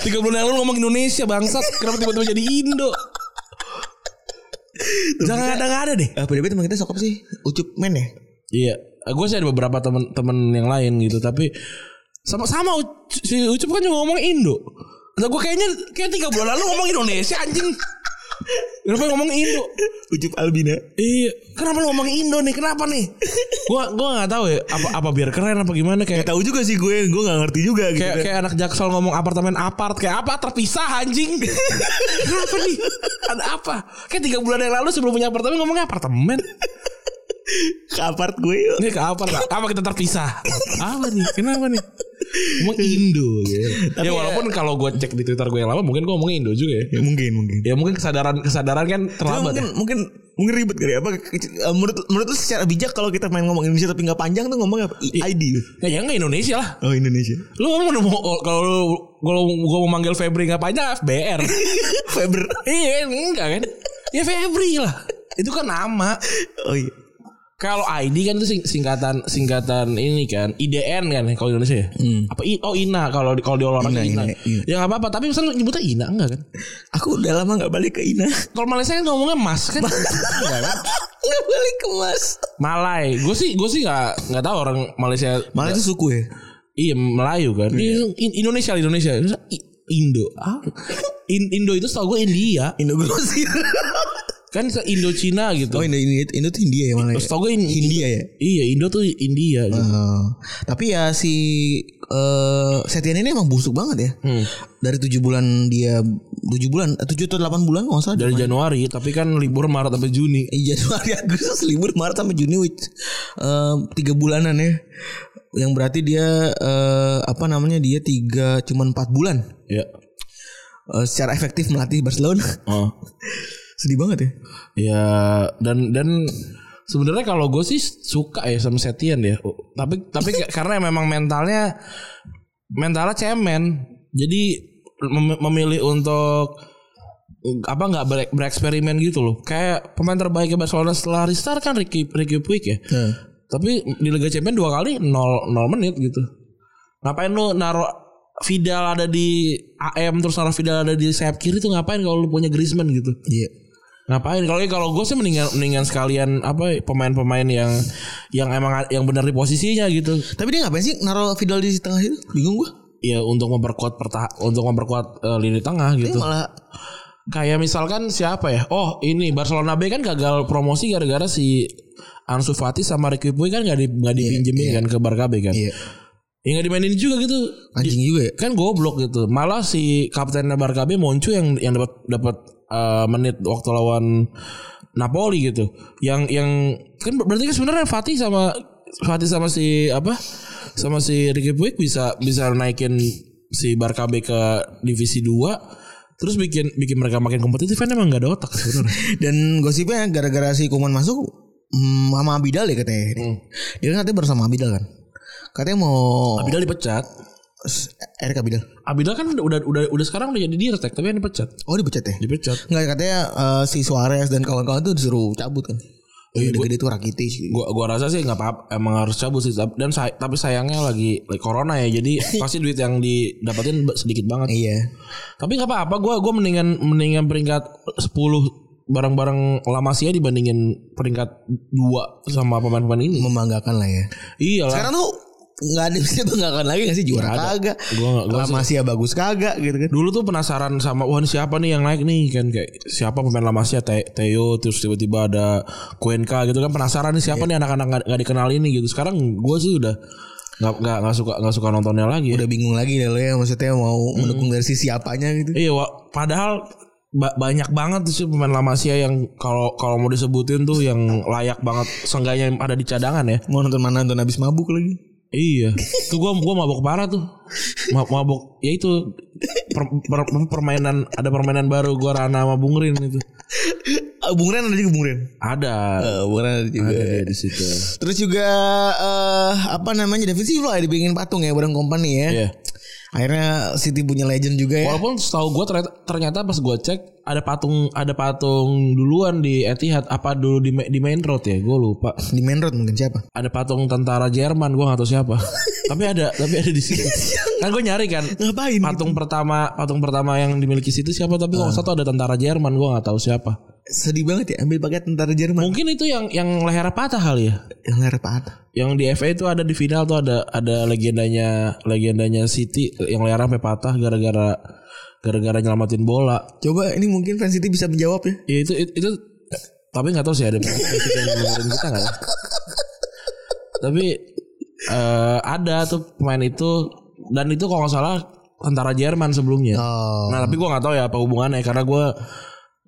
Tiga bulan lalu lu ngomong Indonesia bangsat. Kenapa tiba-tiba jadi Indo? Jangan ada nggak ada deh.
Eh, PDP teman kita sokap sih. Ucup men ya.
Iya, gue sih ada beberapa temen-temen yang lain gitu, tapi sama sama U- si Ucup kan juga ngomong Indo. Nah, gue kayaknya kayak tiga bulan lalu ngomong Indonesia anjing. Kenapa ngomong Indo?
Ucup Albina.
Iya, kenapa lu ngomong Indo nih? Kenapa nih? Gua gua nggak tahu ya apa apa biar keren apa gimana
Gak
kayak
tahu juga sih gue, gue gak ngerti juga gitu.
kayak kayak anak jaksel ngomong apartemen apart kayak apa terpisah anjing. kenapa nih? Ada apa? Kayak tiga bulan yang lalu sebelum punya apartemen ngomongnya apartemen.
Ke apart gue yuk.
Ini ke apa? Kak? Apa kita terpisah? Apa nih? Kenapa nih? Ngomong Indo
gitu.
ya. ya walaupun kalau gue cek di Twitter gue yang lama mungkin gue ngomong Indo juga ya.
Ya mungkin, mungkin.
Ya mungkin kesadaran kesadaran kan
Cuma
terlambat.
mungkin,
Ya.
mungkin mungkin ribet kali ya. apa kecil- eh, menurut menurut lu secara bijak kalau kita main ngomong Indonesia tapi nggak panjang tuh ngomong apa I- ID
Ya ya nggak Indonesia lah.
oh Indonesia
Lu ngomong mau kalau lu- kalau gue mau manggil Febri nggak ya, panjang FBR.
Feber
iya enggak kan? Ya Febri lah. Itu kan nama.
oh iya
Kalau ID kan itu sing- singkatan singkatan ini kan IDN kan ya kalau Indonesia ya. Apa I- oh Ina kalau di kalau di olahraga
Ina,
Ina.
Ina, Ina.
Ya nggak apa-apa tapi misalnya nyebutnya Ina enggak kan?
aku udah lama nggak balik ke Ina
Kalau Malaysia kan ngomongnya mas kan. Enggak kan?
nggak balik ke Mas
Malai. Gue sih gue sih nggak nggak tahu orang Malaysia.
malah itu suku ya
Iya Melayu kan. Ini In- Indonesia Indonesia. I- Indo. Ah. In- Indo itu setahu gue India.
Indo Grosir
Kan se- Indochina gitu.
oh Indo Indo Indo tuh India ya malah ya?
Setahu gue in-
Hindia ya
Iya Indo tuh India. Gitu.
Eh, tapi ya si eh Setian ini emang busuk banget ya. Dari tujuh bulan dia 7 bulan, eh, 7 atau 8 bulan nggak salah.
dari Januari tapi kan libur Maret sampai Juni
Eh, Januari Agustus libur Maret sampai Juni which, eh, tiga bulanan ya. Yang berarti dia eh, apa namanya dia tiga cuman 4 bulan
ya
eh, secara efektif melatih Barcelona.
oh.
Sedih banget ya.
ya dan dan sebenarnya kalau gue sih suka ya sama Setian ya tapi tapi ka- karena memang mentalnya mentalnya cemen jadi mem- memilih untuk eh, apa nggak ber- bereksperimen gitu loh kayak pemain terbaiknya Barcelona setelah restart kan Ricky Ricky Puig ya Tapi di Liga Champions dua kali 0 0 menit gitu. Ngapain lu naruh Vidal ada di AM terus naruh Vidal ada di sayap kiri tuh ngapain kalau lu punya Griezmann gitu.
Iya.
Ngapain kalau eh, kalau gue sih mendingan mendingan sekalian apa eh, pemain-pemain yang yang emang yang benar di posisinya gitu.
Tapi dia ngapain sih naruh Vidal di tengah itu? Bingung gua.
Ya untuk memperkuat pertahan untuk memperkuat eh, lini tengah
Dia
gitu.
malah
Kayak misalkan siapa ya? Oh ini Barcelona B kan gagal promosi gara-gara si Ansu Fati sama Ricky Puig kan nggak di, nggak dipinjemin kan ke Barca B kan?
Iya.
Ya nggak dimainin juga gitu.
anjing juga ya.
Kan goblok gitu. Malah si kaptennya Barca B Moncu yang yang dapat dapat eh, menit waktu lawan Napoli gitu. Yang yang kan ber- berarti kan sebenarnya Fatih sama Fatih sama si apa? Sama si Ricky Puig bisa bisa naikin si Barca B ke divisi 2 terus bikin bikin mereka makin kompetitif kan emang nggak ada otak sebenarnya.
Dan gosipnya gara-gara si Kuman masuk mm, sama Abidal ya katanya. Dia kan katanya bersama Abidal kan. Katanya mau
Abidal dipecat.
S- Erik Abidal.
Abidal kan udah udah udah, udah sekarang udah jadi dirtek tapi kan dipecat.
Oh dipecat ya?
Dipecat.
Enggak katanya eh, si Suarez dan kawan-kawan tuh disuruh cabut kan. Yang gede-gede tuh Rakitic.
gua gua rasa sih nggak apa emang harus cabut sih Tap- dan say- tapi sayangnya lagi, lagi corona ya jadi pasti duit yang didapatin ba- sedikit banget
Iya.
tapi nggak apa-apa gua gua mendingan mendingan peringkat 10 barang-barang lama sih dibandingin peringkat 2 sama pemain-pemain ini Iya
Membanggakan lah ya.
iyalah
Sekarang tuh nggak ada yang bisa banggakan lagi nggak sih juara Iya, kagak.
Gua nggak- gua
Lama sih ya bagus kagak gitu kan.
dulu tuh penasaran sama wah ini siapa nih yang naik nih kan kayak siapa pemain Lamasnya Te- Theo terus tiba-tiba ada Cuenca gitu kan penasaran nih
Iya.
siapa nih anak-anak nggak- nggak dikenal ini gitu sekarang gua sih udah nggak nggak nggak suka nggak suka nontonnya lagi ya.
Udah bingung lagi deh lo ya maksudnya mau mendukung dari sisi apanya gitu.
Iya, wa- padahal ba- banyak banget sih pemain Lamasia yang kalau kalau mau disebutin tuh yang layak banget seenggaknya yang ada di cadangan ya.
Mau nonton mana nonton habis mabuk lagi.
Iya. Tuh gua gua mabok parah tuh. Ma- mabok ya itu per- per- permainan ada permainan baru gua Rana sama Bung Rin itu.
Eh, Bung Ren ada juga Bung Ren.
Ada.
Eh, Bung Ren ada juga.
Ada dia Iya, di situ.
Terus juga eh apa namanya David Silva ya dibikin patung ya bareng company ya.
Iya.
Akhirnya City punya legend juga ya.
Walaupun setahu gua ternyata, ternyata pas gua cek ada patung ada patung duluan di Etihad apa dulu di ma- di main road ya gua lupa.
Di main road mungkin siapa?
ada patung tentara Jerman gue gak tahu siapa tapi ada tapi ada di situ kan gue nyari kan
Ngapain?
patung pertama patung pertama yang dimiliki situ siapa tapi kalau satu ada tentara Jerman gue gak tahu siapa
Sedih banget ya ambil pakai tentara Jerman.
mungkin itu yang yang lehernya patah kali ya
Yang leher patah.
yang di FA itu ada di final tuh ada ada legendanya legendanya City yang lehernya sampai patah gara-gara gara-gara nyelamatin bola
Coba ini mungkin fans City bisa menjawab ya.
ya itu itu, itu- tapi nggak tahu sih ada City yang dengerin kita nggak ya tapi eh, ada tuh pemain itu dan itu kalau nggak salah tentara Jerman sebelumnya
Oh.
nah tapi gua nggak tahu ya apa hubungannya karena gua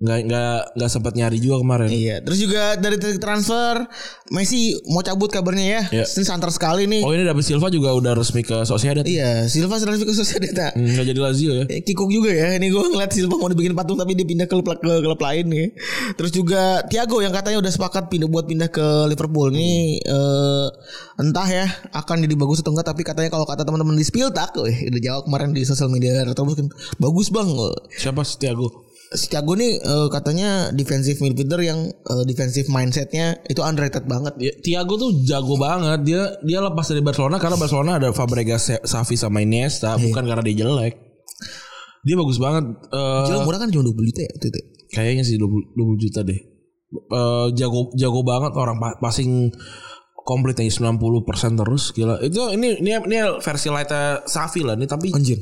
nggak nggak nggak sempat nyari juga kemarin
Iya, terus juga dari titik transfer Messi mau cabut kabarnya ya.
Iya.
Ini santer sekali nih.
oh ini David Silva juga udah resmi ke Sociedad
Iya, Silva sudah ke Sociedad.
Hmm, nggak jadi Lazio ya
Eh, Kikuk juga ya. Ini gue ngeliat Silva mau dibikin patung tapi dia pindah ke klub ke klub lain nih. Terus juga Thiago yang katanya udah sepakat pindah buat pindah ke Liverpool nih eh, entah ya akan jadi bagus atau enggak tapi katanya kalau kata teman-teman di Spiltak eh, udah jawab kemarin di sosial media Retropus kan bagus Bang.
siapa Setiago
Si Thiago nih eh, katanya defensive midfielder yang eh, defensive mindsetnya itu underrated banget.
Ya, Thiago tuh jago banget dia dia lepas dari Barcelona karena Barcelona ada Fabregas, Xavi sama Iniesta bukan karena dia jelek dia bagus banget Eh,
Jual murah kan cuma 20 juta ya waktu itu.
kayaknya sih 20, 20 juta deh. Eh, jago jago banget orang pa- passing komplit yang 90% terus gila. Itu ini ini ini versi lightnya Safi lah nih tapi
Anjir.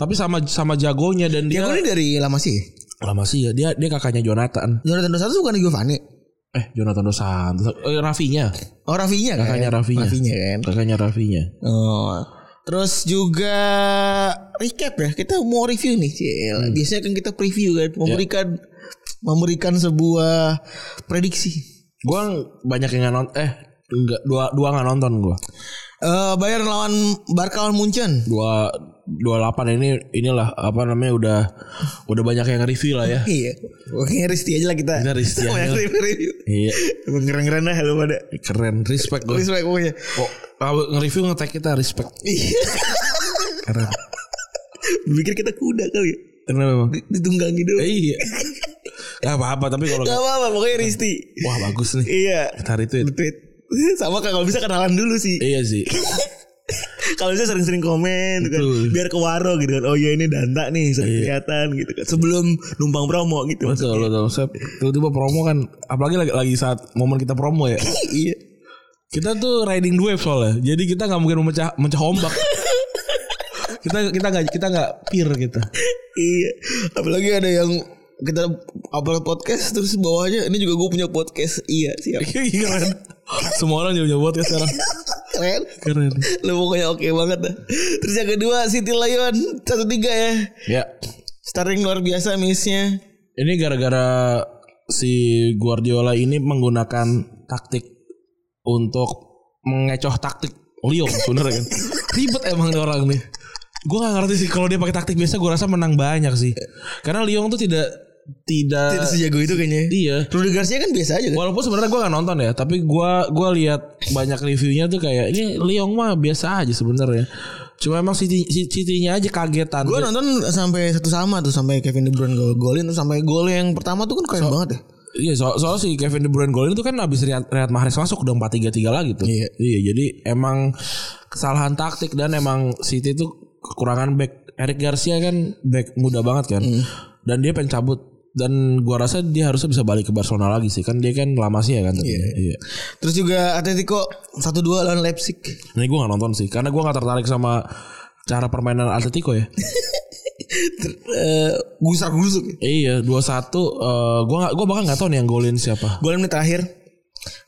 tapi sama sama jagonya dan dia
Thiago ini dari lama sih.
lama sih ya. Dia dia kakaknya Jonathan.
Jonathan Dos Santos bukan Giovanni.
Eh Jonathan Dos Santos. Eh, Rafinya.
Oh Rafinya kan.
Kakaknya Rafinya.
Rafinya kan.
Kakaknya Rafinya.
Oh. Terus juga recap ya. Kita mau review nih, Cil.
Hmm.
Biasanya kan kita preview
Ya.
kan, memberikan memberikan sebuah prediksi.
Gue banyak yang nggak nonton. Eh enggak dua dua nggak nonton gue.
Eh Bayern lawan Barca lawan Munchen.
Dua dua delapan ini inilah apa namanya udah udah banyak yang review lah ya.
Iya. Oke, Risti aja lah kita.
Kita Risti aja.
Banyak review.
Iya Oh.
Emang keren-keren dah lu pada.
keren respect gue.
Respect pokoknya.
Kok kalau nge-review ngetek kita respect
Iya.
keren.
Bikin kita kuda kali ya.
Keren memang.
Ditunggangi dulu.
Eh, Iya. Gak apa-apa tapi kalau
Gak apa-apa pokoknya Risti.
wah bagus nih.
Iya.
Kita retweet.
Tweet. Sama kalau bisa kenalan dulu sih.
Iya sih.
kalau bisa sering-sering komen gitu kan.
Betul.
biar ke waro gitu kan oh iya ini danta nih sering kelihatan gitu kan sebelum numpang promo gitu
Betul betul. Sep. Tiba-tiba promo kan apalagi lagi, lagi saat momen kita promo ya.
iya
Kita tuh riding the wave soalnya. Jadi kita nggak mungkin memecah memecah ombak. kita kita nggak kita nggak peer gitu. kita.
iya apalagi ada yang kita upload podcast terus bawahnya ini juga gue punya podcast iya siap
Keren. Semua orang juga buat ya sekarang.
keren
Keren.
lu pokoknya oke banget dah terus yang kedua City Lion satu tiga ya
Ya.
starring luar biasa missnya
Ini gara-gara si Guardiola ini menggunakan taktik untuk mengecoh taktik Leo sebenarnya kan. Ribet emang nih orang nih. Gue gak ngerti sih kalau dia pakai taktik biasa gue rasa menang banyak sih. Karena Lyon tuh tidak tidak
tidak sejago itu kayaknya
iya.
Rudy Garcia kan biasa aja kan
Walaupun sebenarnya gue gak nonton ya, tapi gue gua lihat banyak reviewnya tuh kayak ini Lyon mah biasa aja sebenarnya. Cuma emang City, City-nya aja kagetan.
Gue nonton sampai satu sama tuh sampai Kevin De Bruyne gol golin tuh sampai gol yang pertama tuh kan keren banget ya.
Iya so soal si Kevin De Bruyne golin itu kan abis Riyad, Riyad Mahrez masuk udah 4-3-3 lagi tuh.
Iya.
gitu. jadi emang kesalahan taktik dan emang City tuh kekurangan back Eric Garcia kan back muda banget kan. Dan dia pencabut dan gua rasa dia harusnya bisa balik ke Barcelona lagi sih kan dia kan lama sih ya kan. Iya.
Terus juga Atletico 1-2 lawan Leipzig.
Ini gua gak nonton sih karena gua gak tertarik sama cara permainan Atletico ya.
Eh, gusar gusuk. ya.
iya, 2-1 eh, gua gak, gua bahkan gak tahu nih yang golin siapa.
Gol menit terakhir.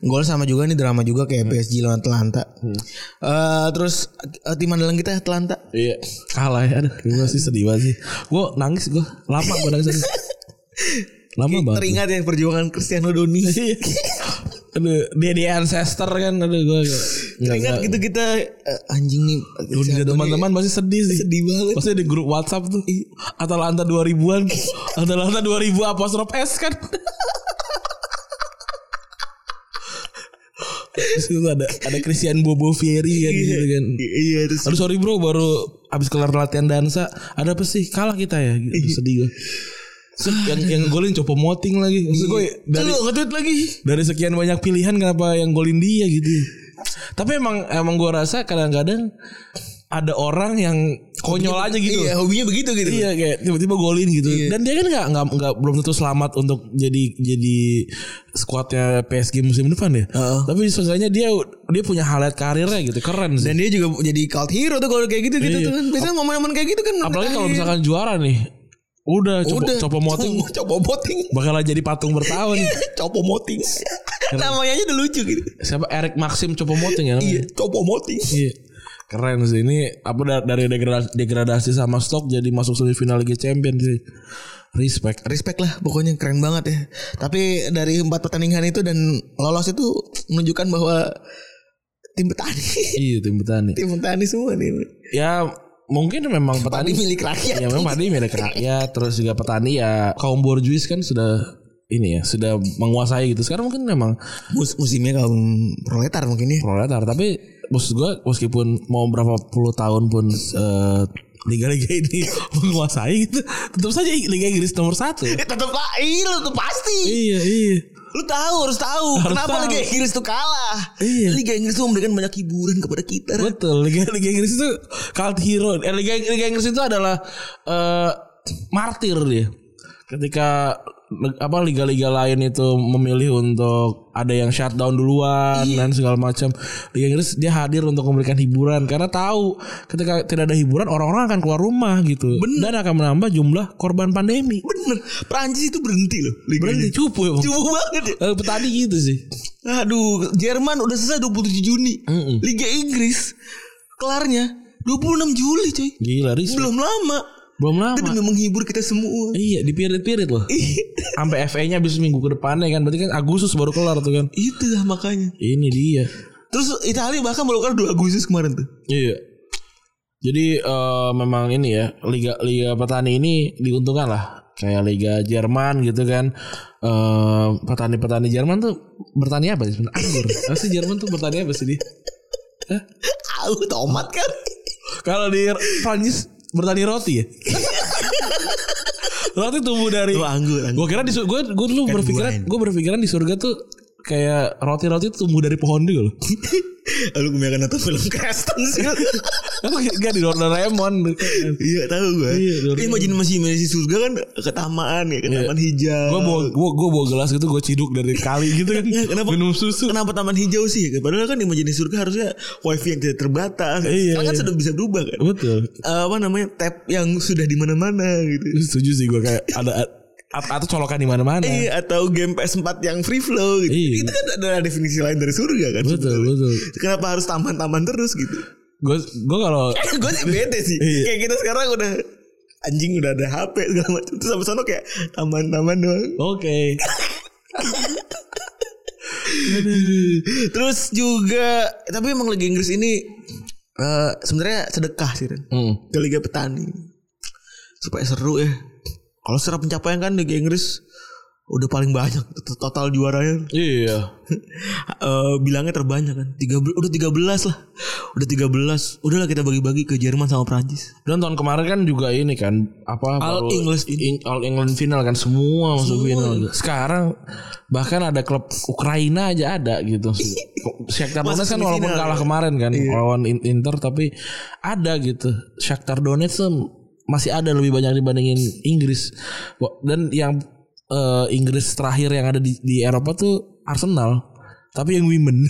Gol sama juga nih drama juga kayak
Hmm.
PSG lawan Atlanta. Eh, terus eh, tim andalan kita Atlanta.
Iya. Kalah ya. Aduh, gue sih sedih banget sih. Gue nangis gue. Lama gue nangis. Lama banget.
Teringat ya perjuangan Cristiano Doni.
Aduh, dia di ancestor kan. Aduh, gue
Teringat gitu kita eh, anjing nih. Cristiano Doni
teman-teman pasti sedih sih.
sedih banget.
Pasti di grup WhatsApp tuh. Atalanta 2000-an. Atalanta 2000 apostrof S kan. Terus itu ada ada Christian Bobo Fieri ya gitu kan.
I- Iya terus
Aduh sorry bro baru abis kelar latihan dansa ada apa sih kalah kita ya gitu sedih gue. Terus yang yang golin coba moting lagi. Maksud gue dari
Lu nge-tweet lagi.
dari sekian banyak pilihan kenapa yang golin dia gitu. Tapi emang emang gue rasa kadang-kadang ada orang yang konyol aja gitu.
Iya, hobinya begitu gitu.
Iya kayak tiba-tiba golin gitu. Dan dia kan nggak nggak nggak belum tentu selamat untuk jadi jadi skuadnya PSG musim depan ya.
Heeh.
Tapi seenggaknya dia dia punya highlight karirnya gitu. Keren sih.
Dan dia juga jadi cult hero tuh kalau kayak gitu gitu
Iya.
tuh kan. Biasanya momen-momen kayak gitu kan.
Apalagi kalau misalkan juara nih. Udah, coba
udah
coba moting
coba- coba moting.
bakal jadi patung bertahun.
Copo moting. Namanya aja udah lucu gitu.
Siapa Erik Maxim coba moting ya
Iya,
namanya?
copo moting.
Iya. Keren sih ini apa da- dari degradasi, degradasi sama stok jadi masuk semifinal Liga Champions sih. Respect.
Respect lah pokoknya keren banget ya. Tapi dari empat pertandingan itu dan lolos itu menunjukkan bahwa tim petani,
Iya tim petani.
tim petani semua nih.
Ya mungkin memang
Petani
petani
milik rakyat.
ya memang petani milik rakyat terus juga petani ya kaum borjuis kan sudah ini ya sudah menguasai gitu sekarang mungkin memang
Mus- musimnya kaum proletar mungkin ya.
proletar tapi maksud gue meskipun mau berapa puluh tahun pun eh, liga-liga ini menguasai gitu tetap saja liga Inggris nomor satu
Eh, tetep lah, iya lu tuh pasti.
iya iya
Lu tahu harus tahu kenapa
tahu.
Liga Inggris tuh kalah.
Iya.
Liga Inggris tuh memberikan banyak hiburan kepada kita.
betul liga liga Inggris itu cult hero eh, liga liga Inggris itu adalah eh, martir dia ketika leg- apa liga-liga lain itu memilih untuk ada yang shutdown duluan dan segala macam liga Inggris dia hadir untuk memberikan hiburan karena tahu ketika tidak ada hiburan orang-orang akan keluar rumah gitu dan akan menambah jumlah korban pandemi
Bener. Prancis itu berhenti loh.
berarti cupu emang.
Cukup banget ya.
Eh, petani gitu sih
Aduh, Jerman udah selesai 27 Juni. Liga Inggris kelarnya 26 Juli cuy.
Gila Riz.
Belum lama.
Belum lama.
Itu demi menghibur kita semua.
Iya di pirit-pirit loh. Sampai FA-nya habis minggu ke depannya kan. Berarti kan Agustus baru kelar tuh kan.
itu lah makanya.
Ini dia.
Terus Italia bahkan baru kelar 2 Agustus kemarin tuh.
Iya. Jadi eh, memang ini ya liga liga petani ini diuntungkan lah kayak liga Jerman gitu kan. Eh, petani-petani Jerman tuh bertani apa sih? sebenarnya? Anggur. Apa sih Jerman tuh bertani apa sih dia?
Au tomat kan.
Kalau di Prancis bertani roti ya. roti tumbuh dari
Lu anggur, Kan
Gue
anggur.
kira di gue gue dulu berpikiran
buahin.
gue berpikiran di surga tuh kayak roti-roti tuh tumbuh dari pohon juga loh.
Lu kemarin nonton film Kristen sih.
Apa gak di Doraemon?
Iya tahu gue.
Iya,
Iya, imajinasi imajinasi surga kan ke taman ya, ke taman hijau.
Gue bawa gue gue bawa gelas gitu gue ciduk dari kali gitu kan.
Iya, Kenapa?
Minum susu.
Kenapa taman hijau sih? Padahal kan imajinasi surga harusnya wifi yang tidak terbatas.
Iya,
Sekarang kan
iya.
sudah bisa berubah kan.
Betul.
Eh, apa namanya tab yang sudah di mana-mana gitu.
Setuju sih gue kayak ada at- atau colokan di mana-mana.
Iya atau game PS4 yang free flow gitu.
Iya.
Itu kan ada definisi lain dari surga kan.
Betul
sebenarnya.
betul.
Kenapa harus taman-taman terus gitu?
Gue gue kalau
gue sih bete sih.
Iya.
Kayak kita sekarang udah anjing udah ada HP segala macam. Terus sampai sono kayak taman-taman doang.
oke
Terus juga tapi emang Liga Inggris ini eh sebenarnya sedekah sih Ren.
Hmm.
Ke Liga Petani. Supaya seru ya. Kalau secara pencapaian kan Liga Inggris udah paling banyak total juaranya
Iya.
eh bilangnya terbanyak kan. 13 udah 13 lah. Udah 13. Udahlah kita bagi-bagi ke Jerman sama Prancis.
Dan tahun kemarin kan juga ini kan apa
All England final.
in- All England final kan semua masuk final. Sekarang bahkan ada klub Ukraina aja ada gitu. Shakhtar
Masuk
Donetsk kan
semifinal
walaupun
ya.
kalah kemarin kan lawan In- Inter tapi ada gitu. Shakhtar Donetsk tuh masih ada lebih banyak dibandingin Inggris. Wa- Dan yang eh, Inggris terakhir yang ada di, di Eropa tuh Arsenal. Tapi yang women.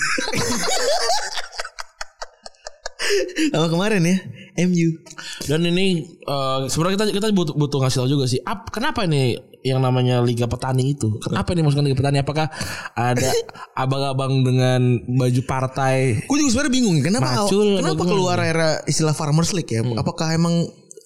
Sama kemarin ya, MU.
Dan ini eh, sebenarnya kita kita butuh butuh ngasih tahu juga sih. Ap, kenapa ini yang namanya Liga Petani itu? Kenapa ini masukkan Liga Petani? Apakah ada abang-abang dengan baju partai?
Gue juga sebenarnya bingung ya, kenapa
Macul,
kenapa
bagaimana?
keluar era istilah Farmers League ya? Apakah emang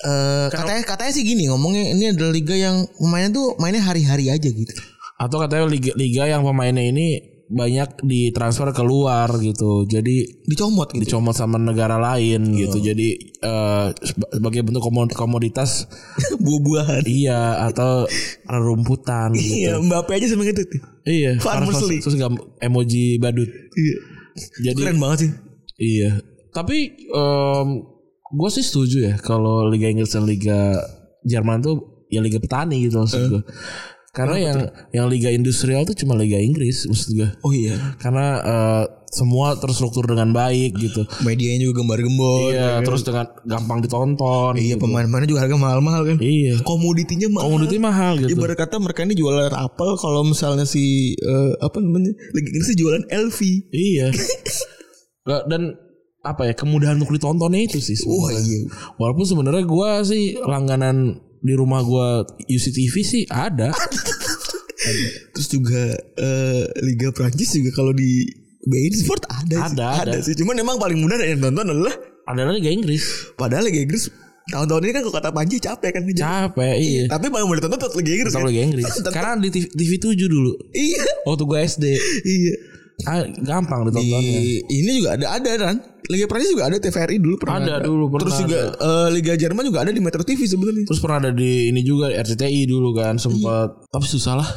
eh, katanya katanya sih gini ngomongnya ini adalah liga yang mainnya tuh mainnya hari-hari aja gitu.
Atau katanya liga liga yang pemainnya ini banyak ditransfer keluar gitu. Jadi
Dicomot gitu.
dicomot sama negara lain gitu.
Iya.
Jadi eh, seba- sebagai bentuk komo- komoditas
Buah-buahan.
iya atau rerumputan gitu.
Iya, Mbappe aja sama gitu tuh.
Iya,
Farmers
terus-
League.
terus gam- emoji badut.
Iya.
Jadi
Keren banget sih.
Iya. Tapi gue sih setuju ya kalau Liga Inggris dan Liga Jerman tuh ya Liga petani gitu maksud gue. Karena yang yang Liga Industrial tuh cuma Liga Inggris maksud gue.
Oh iya.
Karena eh, semua terstruktur dengan baik gitu.
Medianya juga gembar-gembor.
Iya. Terus dengan gampang ditonton. gitu.
Iya, pemain-pemainnya juga harga mahal-mahal kan.
Iya.
Komoditinya mahal.
Komoditi mahal gitu.
Ibarat kata mereka ini jualan apel kalau misalnya si eh, apa namanya? Lagi ini sih jualan LV.
Iya. Nggak, Dan apa ya kemudahan untuk ditontonnya itu sih.
Wah,
sebenarnya.
iya.
Walaupun sebenarnya gua sih langganan di rumah gua UCTV sih ada.
Terus juga eh, Liga Prancis juga kalau di bein Sport
Ada,
ada, sih.
ada.
sih. Cuman emang paling mudah yang nonton adalah
Ada Liga Inggris.
padahal Liga Inggris tahun-tahun ini kan kalau kata Panji capek kan ngejar.
Capek iya.
Tapi paling mudah ditonton tetap Liga Inggris.
Tetap
kan?
Liga Inggris.
Tetap-
Karena di TV, TV 7 dulu.
Iya.
Waktu gue SD.
Iya.
Ah, gampang
Di,
ditontonnya.
Iya, ini juga ada ada kan. Liga Prancis juga ada TVRI dulu pernah.
Ada dulu, pernah
Terus juga eh, Liga Jerman juga ada di Metro TV sebenarnya.
Terus pernah ada di ini juga RCTI dulu kan sempat tapi susah lah.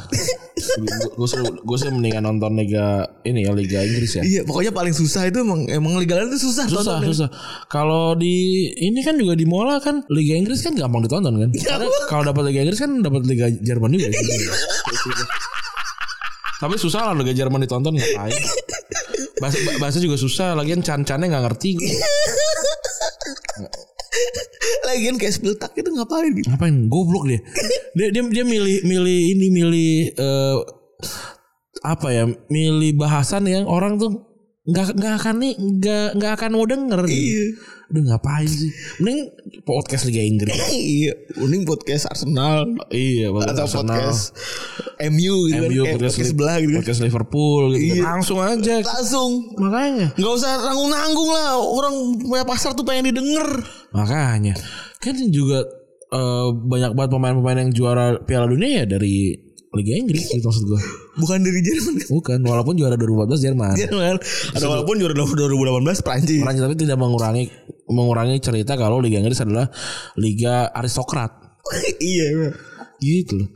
gue sih gue sih mendingan nonton liga ini ya liga Inggris ya.
Iya, pokoknya paling susah itu emang emang liga lain itu susah.
Susah
tontonan.
susah. Kalau di ini kan juga di Mola kan liga Inggris kan gampang ditonton kan. Karena kalau dapat liga Inggris kan dapat liga Jerman juga. tapi susah lah liga Jerman ditonton ngapain. Bahasa, bahasa juga susah lagian can-cannya nggak ngerti gue.
Lagian kayak spill tak itu ngapain gitu.
ngapain goblok dia dia dia, dia milih milih ini milih eh, apa ya milih bahasan yang orang tuh nggak nggak akan nih nggak nggak akan mau denger
Iya.
Udah ngapain sih? Mending podcast Liga Inggris.
iya, mending podcast Arsenal
iya, podcast
atau
Arsenal.
podcast MU gitu
MU,
kan, Eh,
podcast,
podcast
Li-
sebelah gitu kan.
podcast Liverpool gitu.
Iya.
Langsung aja.
Langsung
Makanya.
nggak usah nanggung-nanggung lah orang punya pasar tuh pengen didengar.
Makanya. Kan juga eh, banyak banget pemain-pemain yang juara Piala Dunia ya dari Liga Inggris gitu maksud gua.
Bukan dari Jerman.
Bukan, walaupun juara 2014 Jerman.
Jerman. Ada walaupun juara 2018 Prancis.
Perancis tapi tidak mengurangi mengurangi cerita kalau Liga Inggris adalah liga aristokrat.
iya. emang.
Gitu loh.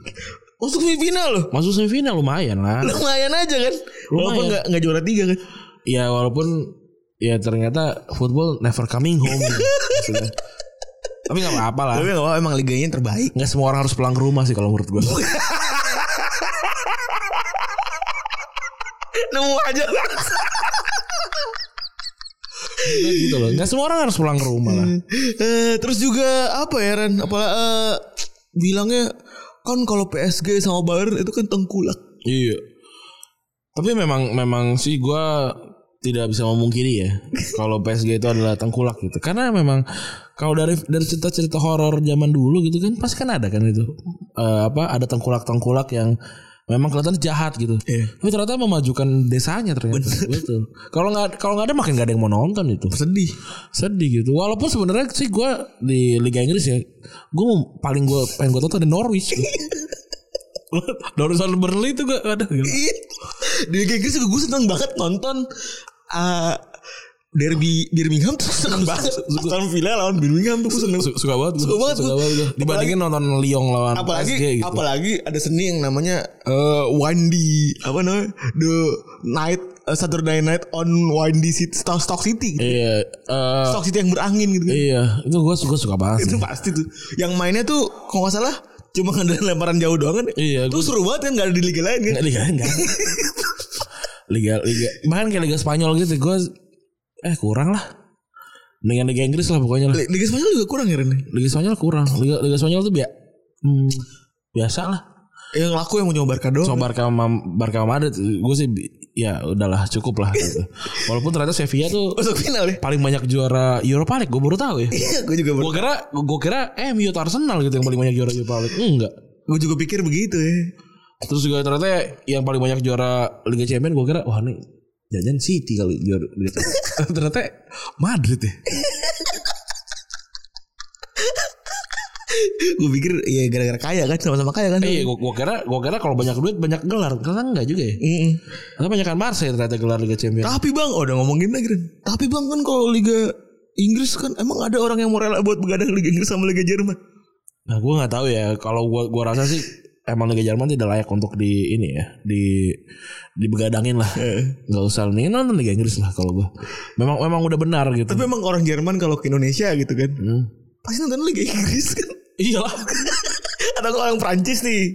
Masuk semifinal loh.
Masuk semifinal lumayan lah.
Lumayan aja kan. Walaupun
Lumayan.
nggak nggak juara tiga kan.
Ya walaupun ya ternyata football never coming home. Maksudnya. Tapi nggak apa-apa lah.
Tapi nggak apa-apa emang liganya yang terbaik.
Nggak semua orang harus pulang ke rumah sih kalau menurut gue.
Nemu aja lah.
gitu loh. Nggak semua orang harus pulang ke rumah lah.
Eh, terus juga apa ya Ren? Apa eh, bilangnya kan kalau PSG sama Bayern itu kan tengkulak.
Iya. Tapi memang memang sih gue tidak bisa memungkiri ya kalau PSG itu adalah tengkulak gitu. Karena memang kalau dari dari cerita-cerita horor zaman dulu gitu kan pasti kan ada kan itu Eh, apa ada tengkulak-tengkulak yang memang kelihatan jahat gitu.
Iya.
Tapi ternyata memajukan desanya ternyata. Betul. Kalau nggak kalau nggak ada makin nggak ada yang mau nonton itu.
Sedih.
Sedih gitu. Walaupun sebenarnya sih gue di Liga Inggris ya, gue paling gue pengen gue tonton di Norwich. gitu. Norwich sama Burnley itu gue ada gitu.
Iya. Di Liga Inggris gue seneng banget nonton eh, Derby Birmingham tuh seneng banget. Aston Villa lawan Birmingham tuh gue seneng.
Su- suka banget gue.
Suka banget gue.
gue. Dibandingin nonton Lyon lawan
apalagi
PSG gitu.
apalagi ada seni yang namanya eh Windy apa namanya the night eh, Saturday night on Windy City Stock, Stock City gitu.
Iya, eh,
Stock City yang berangin gitu kan.
iya, itu gue suka suka banget.
itu
sih.
pasti tuh yang mainnya tuh kalau nggak salah cuma ngandelin lemparan jauh doang kan
Iya,
tuh seru banget kan nggak ada di liga lain kan
Nggak, Liga enggak. Liga Liga bahkan kayak Liga Spanyol gitu gue eh kurang lah. Dengan Liga Inggris lah pokoknya lah.
Li- liga Spanyol juga kurang ya Ren
Liga Spanyol kurang. Liga Liga Spanyol tuh bia- hmm, biasa lah.
yang laku yang mau nyoba Barca doang
Coba Barca sama Barca sama Madrid gue sih bi- ya udahlah cukup lah gitu. Walaupun ternyata Sevilla tuh
masuk final ya
paling banyak juara Europa League gue baru tahu ya.
iya gue juga
Gue kira gue kira MU atau Arsenal gitu yang paling banyak juara Europa League. Enggak.
gue juga pikir begitu ya
Terus juga ternyata yang paling banyak juara Liga Champions gue kira wah nih jajan City kali juara Liga Champions. ternyata Madrid ya.
gue pikir ya gara-gara kaya kan sama-sama kaya kan
Iya, gue kira gue kira kalau banyak duit banyak gelar. Ternyata enggak juga ya.
Mm-mm.
Ternyata banyak kan Marseille ternyata gelar Liga Champions.
Tapi bang, oh, udah ngomongin lagi Ren. Tapi bang kan kalau Liga Inggris kan emang ada orang yang mau rela buat begadang Liga Inggris sama Liga Jerman.
Nah, gue nggak tahu ya. Kalau gue gua rasa sih emang Liga Jerman tidak layak untuk di ini ya, di dibegadangin lah.
Iya.
Nggak usah nih nonton Liga Inggris lah kalau gue. Memang memang udah benar gitu.
Tapi emang orang Jerman kalau ke Indonesia gitu kan,
Hmm.
pasti nonton Liga Inggris kan.
Iyalah.
Atau kalau orang Prancis nih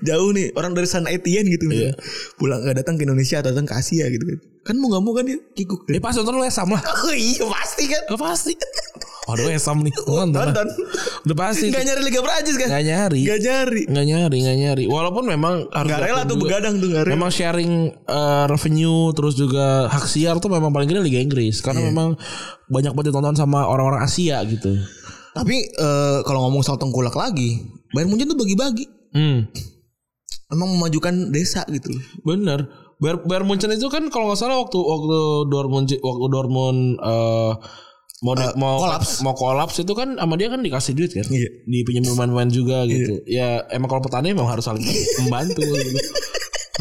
Jauh nih Orang dari San Etienne gitu misalnya. Pulang gak datang ke Indonesia Atau datang ke Asia gitu kan Kan mau gak mau kan dia kikuk
Ya pas nonton West Ham lah.
Oh iya pasti kan
Oh, pasti. Waduh West Ham nih. Nonton. lah.
Nonton
Udah pasti. Gak
Gak nyari Liga Prancis kan
nyari.
Gak nyari
Gak nyari, gak nyari. Walaupun memang harus
Gak rela
diakui
tuh
juga.
begadang tuh Gak rela
Memang sharing eh, revenue terus juga hak siar tuh memang paling gede Liga Inggris
Iya.
karena memang banyak banget ditonton sama orang-orang Asia gitu.
Tapi eh, kalau ngomong soal tengkulak lagi Bayern Munchen tuh bagi-bagi
Hmm.
emang memajukan desa gitu loh.
Bener. Bayern, Bayern Munchen itu kan kalau nggak salah waktu waktu Dortmund waktu Dortmund eh, mau di-
Eh,
mau
kolaps.
mau kolaps itu kan sama dia kan dikasih duit kan.
Iya.
Dipinjam pemain-pemain juga gitu. Ya emang kalau petani memang harus saling membantu gitu.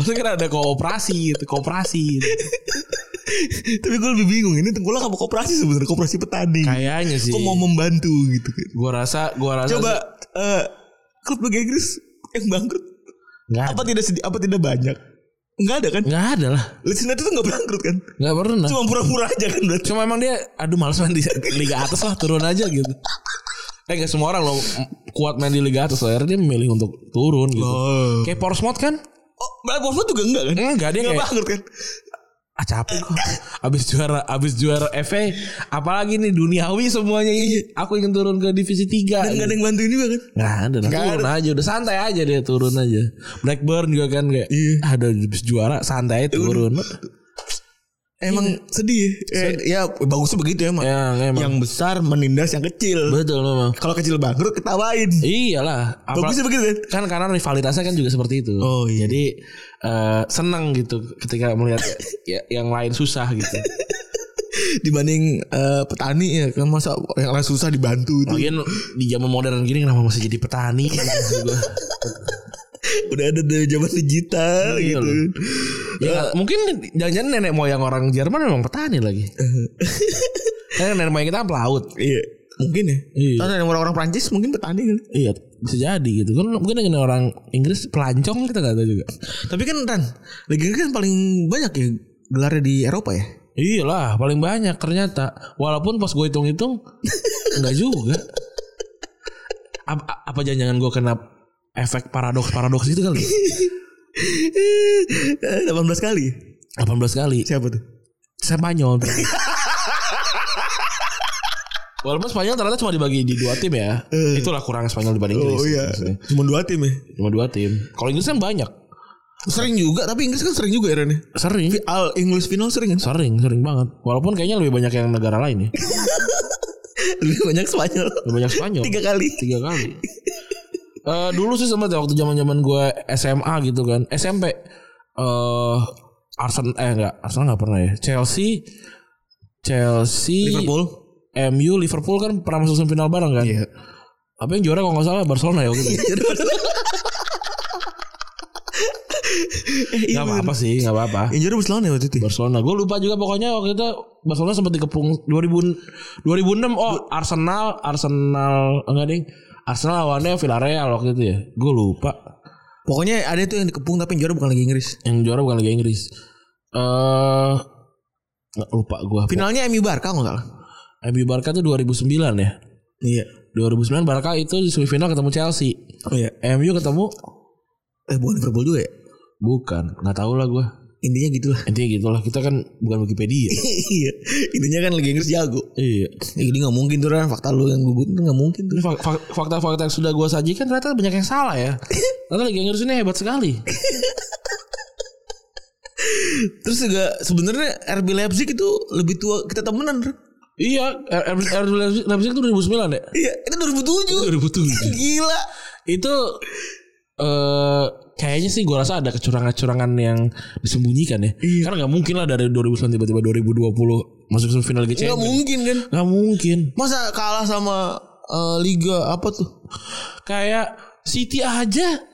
Maksudnya kan ada kooperasi gitu, kooperasi gitu.
Tapi gue lebih bingung ini tengkulak apa koperasi sebenarnya koperasi petani.
Kayaknya sih.
Kok mau membantu gitu kan.
Gua rasa gua rasa
Coba eh, klub Liga Inggris yang bangkrut
nggak ada.
apa tidak sedih apa tidak banyak? Enggak ada kan?
Nggak ada lah.
Leeds United tuh enggak bangkrut kan?
Nggak pernah. Cuma,
Cuma pura-pura aja kan berarti.
emang dia aduh males main di liga atas lah, turun aja gitu. Eh nggak semua orang loh kuat main di liga atas akhirnya dia memilih untuk turun gitu.
Oh.
Kayak Portsmouth kan?
Oh, Blackburn juga enggak kan?
Enggak dia
Enggak
kayak
bangkrut kan?
ah capek kok. Abis juara abis juara FA apalagi nih duniawi semuanya ini. Aku ingin turun ke divisi 3.
Dan enggak ada yang bantuin juga kan?
Nggak ada lah.
Nggak
turun aja udah santai aja dia turun aja. Blackburn juga kan kayak
Iya.
ada abis juara santai turun.
Emang sedih. Eh, ya bagusnya begitu emang.
Ya, emang.
Yang besar menindas yang kecil.
Betul memang.
Kalau kecil bangkrut ketawain.
Iya, Iyalah. apa-
Bagusnya begitu kan?
kan karena rivalitasnya kan juga seperti itu.
Oh, iya.
Jadi eh, senang gitu ketika melihat ya, yang lain susah gitu.
Dibanding eh, petani ya kan masa yang lain susah dibantu itu.
Lagian di zaman modern gini kenapa masih jadi petani? Gitu maksud gua.
Udah ada dari zaman digital
Iya
gitu.
loh. Ya, mungkin jangan-jangan nenek moyang orang Jerman memang petani lagi. Karena nenek moyang kita kan pelaut.
Iya. Mungkin ya.
Iya.
Karena yang orang-orang Prancis mungkin petani kan.
Iya bisa jadi gitu kan mungkin dengan orang Inggris pelancong kita nggak tahu juga.
Tapi kan Ran, Liga Inggris kan paling banyak ya gelarnya di Eropa ya.
Iyalah paling banyak ternyata walaupun pas gue hitung-hitung nggak juga. Apa, apa jangan-jangan gue kena efek paradoks-paradoks itu kali?
Eh, 18 kali.
18 kali.
Siapa tuh?
Spanyol. berarti. Walaupun Spanyol ternyata cuma dibagi di dua tim ya. Itulah kurang Spanyol dibanding Inggris.
Eh. Oh iya.
maksudnya.
Cuma dua tim ya.
Cuma dua tim. Kalau Inggris kan banyak.
Sering juga, tapi Inggris kan sering juga ya Ren. ya?
Sering.
Tapi All English final sering kan?
Sering, sering banget. Walaupun kayaknya lebih banyak yang negara lain ya.
Lebih banyak Spanyol.
Lebih banyak Spanyol.
Tiga kali.
tiga kali Eh dulu sih sempat ya waktu zaman zaman gue SMA gitu kan SMP eh Arsenal eh enggak Arsenal nggak pernah ya Chelsea Chelsea
Liverpool.
MU Liverpool kan pernah masuk semifinal bareng kan
Iya.
apa yang juara kalau nggak salah Barcelona ya gitu
eh, iya
nggak
bener.
apa-apa sih nggak apa-apa
Yang juara Barcelona ya waktu itu.
Barcelona gue lupa juga pokoknya waktu itu Barcelona sempat dikepung 2000 2006 oh Arsenal Arsenal enggak ding Arsenal lawannya Villarreal waktu itu ya gue lupa
Pokoknya ada tuh yang dikepung tapi yang juara bukan lagi Inggris.
yang juara bukan Liga Inggris. Eh nggak lupa gua.
Finalnya MU Barca nggak salah.
MU Barca tuh 2009 ya.
Iya.
2009 Barca itu di semifinal ketemu Chelsea.
Oh iya.
MU ketemu
Eh bukan Liverpool juga ya?
bukan, nggak tahu lah gua.
Intinya gitulah.
Intinya gitulah, kita kan bukan Wikipedia.
iya. Intinya kan Liga Inggris jago.
iya.
Ya, jadi nggak mungkin tuh Ran fakta lu yang gugup tuh nggak mungkin tuh.
Ini fak- fak- fakta-fakta yang sudah gua sajikan ternyata banyak yang salah ya. Ternyata Liga Inggris ini hebat sekali.
Terus juga sebenarnya RB Leipzig itu lebih tua kita temenan. Ran.
iya, R- R- R- Leipzig Leipzig itu 2009 ya.
Iya, itu 2007.
2007.
Gila.
itu eh kayaknya sih gua rasa ada kecurangan-kecurangan yang disembunyikan ya.
Iya.
Karena nggak mungkin lah dari 2009 tiba-tiba 2020 masuk semifinal Liga
Nggak
Champions.
mungkin kan?
Nggak mungkin.
Masa kalah sama eh, liga apa tuh?
Kayak City aja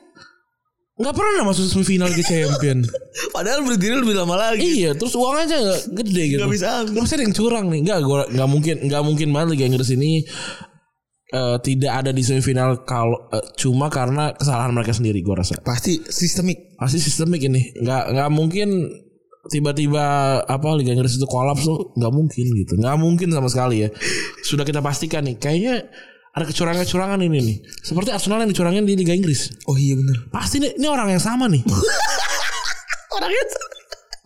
nggak pernah masuk semifinal Liga Champions.
Padahal berdiri lebih lama lagi.
iya, terus uang aja nggak gede gitu.
Nggak bisa habis.
Masih ada yang curang nih. Nggak, gua nggak mungkin, nggak mungkin banget Liga Inggris ini eh, tidak ada di semifinal kalau eh, cuma karena kesalahan mereka sendiri gua rasa.
Pasti sistemik.
pasti sistemik ini nggak nggak mungkin tiba-tiba apa Liga Inggris itu kolaps tuh nggak mungkin gitu nggak mungkin sama sekali ya sudah kita pastikan nih kayaknya ada kecurangan-kecurangan ini nih seperti Arsenal yang dicurangin di Liga Inggris
Oh iya benar.
pasti nih, ini orang yang sama nih
Orangnya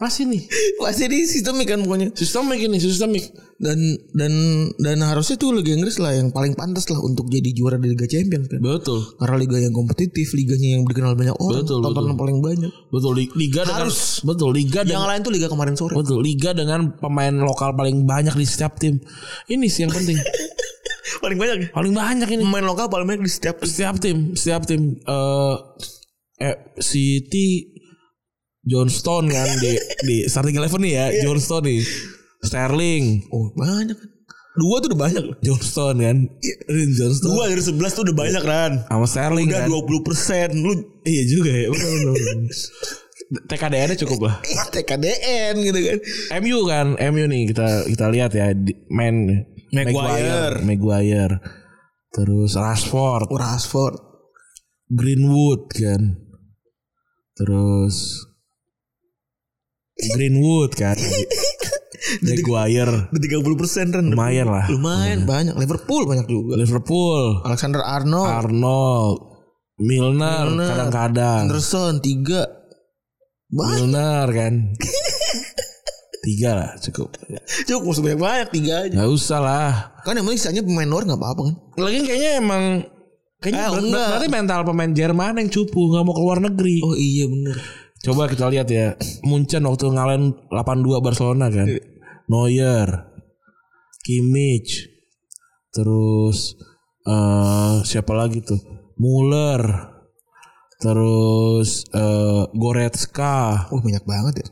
pasti nih
pasti di sistemik kan pokoknya.
sistemik ini sistemik
Dan dan dan harusnya tuh Liga Inggris lah yang paling pantas lah untuk jadi juara di Liga Champions kan.
betul
Karena liga yang kompetitif, liganya yang dikenal banyak orang,
Betul,
tontonan paling banyak.
betul li- Liga
Harus.
dengan betul Liga
Yang
dengan
lain tuh liga kemarin sore.
betul Liga dengan pemain lokal paling banyak di setiap tim ini sih yang penting
paling banyak ya?
paling banyak ini
Pemain lokal paling banyak di setiap
setiap tim setiap tim eh eh, City Johnstone kan di di starting eleven nih ya Johnstone nih Sterling
Oh banyak kan. Dua tuh udah banyak.
Johnstone kan Rin Johnstone
Dua dari sebelas tuh udah banyak kan.
sama Sterling kan
Udah 20 persen. Lu
iya juga ya benar benar TKDR-nya cukup lah
TKDN gitu kan.
MU kan MU nih kita kita lihat ya di, main Maguire
Maguire.
Maguire. terus Rashford
Rashford.
Greenwood kan. Terus Greenwood kan. Maguire
Udah 30 persen kan.
lumayan Iya. lah.
Lumayan banyak. Liverpool banyak juga.
Liverpool,
Alexander
Ah.
Arnold.
Arnold, Milner
Milner.
kadang-kadang.
Anderson tiga. Banyak.
Milner kan. Tiga lah cukup.
Cukup sebanyak banyak tiga aja.
Gak usah lah.
Kan yang penting sisanya pemain luar nggak apa-apa kan.
Lagi kayaknya emang
Eh,
Kayaknya ber-
enggak.
berarti mental pemain Jerman yang cupu nggak mau keluar negeri.
Oh iya bener.
Coba kita lihat ya. Munchen waktu ngalahin 8-2 Barcelona kan. Neuer, Kimmich, terus eh siapa lagi tuh? Muller, terus eh Goretzka.
Oh banyak banget
Eh.
ya.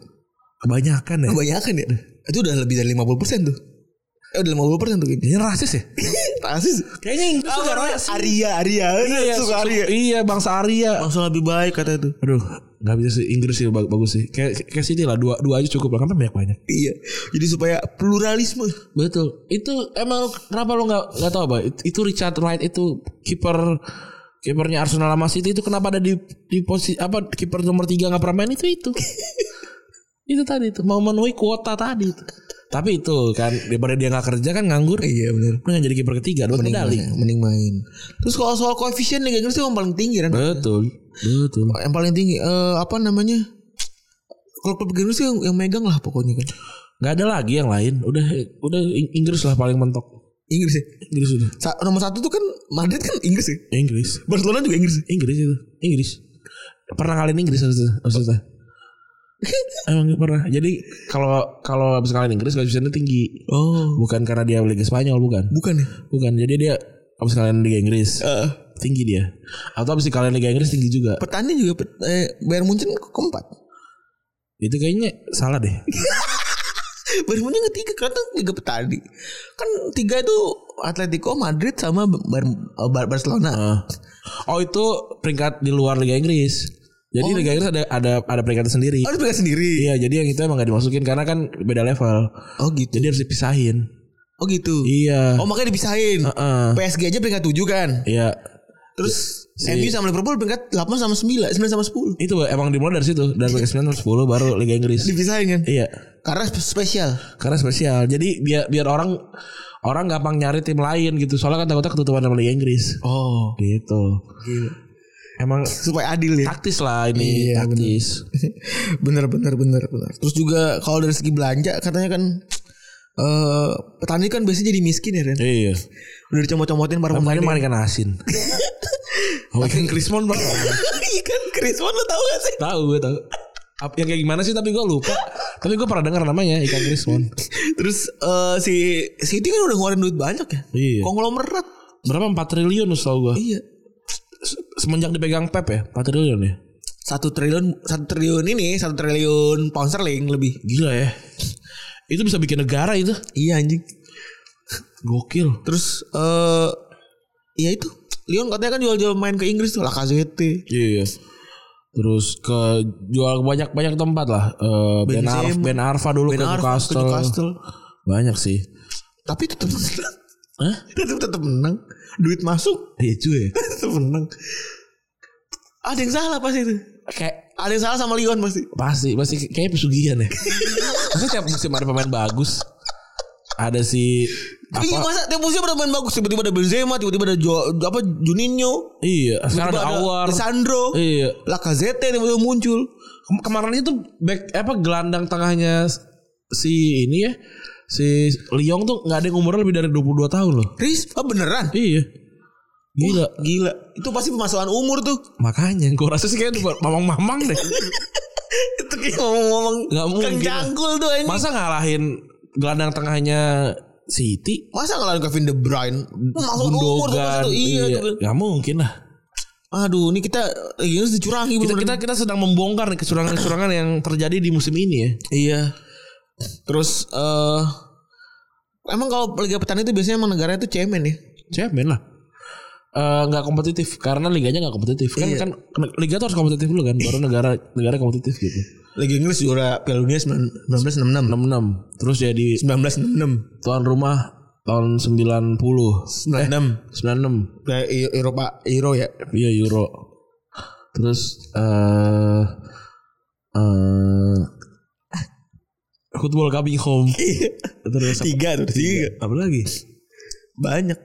Kebanyakan ya.
Kebanyakan ya. Itu udah lebih dari 50% tuh. Eh udah 50% tuh kayaknya.
Ini rasis ya?
Rasis.
Kayaknya Inggris suka rasis.
Aria, Aria.
Iya,
suka
su-
Aria.
Ah, iya, bangsa Arya.
Langsung lebih baik kata itu.
Aduh, nggak bisa sih Inggris sih bag- bagus sih. Kayak kayak sini lah dua dua aja cukup lah. Kenapa banyak banyak?
Iya. Jadi supaya pluralisme.
Betul. Itu emang lu- kenapa lu nggak nggak tahu apa? It- Itu Richard Wright itu kiper kipernya Arsenal sama City itu kenapa ada di di posisi apa kiper nomor tiga nggak pernah main itu itu itu tadi itu mau memenuhi kuota tadi itu. Tapi itu kan daripada dia nggak kerja kan nganggur.
Iya benar.
Mendingan jadi kiper ketiga dapat
Mending
medali.
main. Mending main. Terus kalau soal koefisien Liga Inggris itu yang paling tinggi kan?
Betul. Betul.
Yang paling tinggi eh, apa namanya? Kalau klub Liga Inggris yang, yang megang lah pokoknya kan.
Gak ada lagi yang lain. Udah udah Ing- Inggris lah paling mentok.
Inggris ya.
Inggris udah.
Sa- nomor satu tuh kan Madrid kan Inggris ya.
Inggris.
Barcelona juga Inggris. ya?
Inggris itu Inggris pernah ngalahin Inggris maksudnya maksudnya emang pernah jadi kalau kalau habis ngalahin Inggris koefisiennya tinggi
Oh,
bukan karena dia Liga Spanyol bukan
bukan ya?
bukan jadi dia habis ngalahin Liga Inggris
Eh,
tinggi dia atau habis kalian Liga Inggris tinggi juga
petani juga pet- eh, Bayern Munchen ke- keempat.
itu kayaknya salah deh
Bayern Munchen ketiga karena tiga petani. Kan tiga itu Atletico, Madrid sama Bayern- eh, Bar- Barcelona.
Ah. oh itu peringkat di luar Liga Inggris jadi Liga Inggris ada ada ada peringkat sendiri
Oh, itu mereka sendiri.
iya jadi yang itu emang gak dimasukin karena kan beda level
Oh gitu.
jadi harus dipisahin
Oh gitu.
iya
Oh makanya dipisahin.
Heeh.
PSG aja peringkat 7 kan.
iya
Terus MU sama Liverpool peringkat 8 sama 9, 9 sama 10.
Itu emang dimulai dari situ dari Liga 9 sampai 10 baru Liga Inggris.
Dipisahin kan?
Iya,
Karena sp- spesial.
karena spesial. Jadi biar biar orang orang gampang nyari tim lain gitu. Soalnya kan takutnya ketutupan sama Liga Inggris.
Oh.
Gitu. Emang
Supaya adil ya.
taktis lah ini,
Iya,
taktis.
bener bener bener bener. Terus juga kalau dari segi belanja katanya kan eh petani kan biasanya jadi miskin ya Ren.
Iya.
Udah dicomot-comotin para
Kemarin
pemain.
makan ikan asin. Oh, ikan krismon bang.
Ikan Krismon kan, lo tau gak sih?
tahu gue tahu. Apa- Yang kayak gimana sih tapi gue lupa. tapi gue pernah dengar namanya ikan krismon.
Terus eh si City kan udah ngeluarin duit banyak ya.
Iya.
Konglomerat.
Berapa 4 triliun setahu gue.
Iya.
Semenjak dipegang Pep ya, 4 triliun ya.
Satu triliun satu triliun ini satu triliun pound sterling lebih.
Gila ya. Itu bisa bikin negara itu.
Iya anjing.
Gokil.
Terus eh ya itu Leon katanya kan jual-jual main ke Inggris tuh Lacazette.
Iya. Terus ke jual banyak banyak tempat lah. Eh, ben,
Benzema.
Arf, ben Arfa dulu
Ben
ke
Arfa ke
Iya, Newcastle.
Newcastle.
Banyak sih.
Tapi tetap menang.
Hah?
Tetap tetap menang. Duit masuk
Iya cuy.
tetap menang. Ada yang salah pasti itu.
Kayak
Ada yang salah sama Leon pasti.
pasti pasti kayak pesugihan ya. Masa tiap musim ada pemain bagus. Ada si
Iya
apa?
masa tiap musim ada pemain bagus tiba-tiba ada Benzema, tiba-tiba ada Jo- apa Juninho,
Iya, sekarang
tiba-tiba
ada Awar.
Sandro,
Iya.
Lacazette tiba-tiba muncul.
Kem- kemarin itu back apa gelandang tengahnya si ini ya. Si Liong tuh nggak ada yang umurnya lebih dari 22 tahun loh.
Riz, ah beneran?
Iya. Gila.
Gila, itu pasti permasalahan umur tuh.
Makanya gue rasa sih kayaknya buat mamang-mamang deh.
itu kayak ngomong-ngomong
Nggak mungkin.
Kang Cangkul tuh ini.
Masa ngalahin gelandang tengahnya City?
Masa ngalahin Kevin De Bruyne? Masuk umur tuh
Gundogan.
pasti tuh. Iya,
iya.
tuh.
Nggak mungkin lah.
Aduh, ini kita eh, ini dicurangi
Kita, kita,
bener-bener.
kita sedang membongkar nih kecurangan-kecurangan yang terjadi di musim ini ya.
Iya. Terus eh emang kalau Liga Petani itu biasanya emang negaranya itu cemen ya.
Cemen lah. Eh, nggak kompetitif karena liganya nggak kompetitif kan kan liga tuh harus kompetitif dulu kan baru negara negara kompetitif gitu
Liga Inggris juara Piala Dunia 19-
66
1966.
terus jadi
Iya, 1966.
tuan rumah tahun 90 96
96.
96
Eh, Eu- Eropa Euro ya.
Iya Euro. Terus eh eh football coming home. Terus apa-
Iya. Tiga tuh, tiga.
Apa lagi?
Banyak.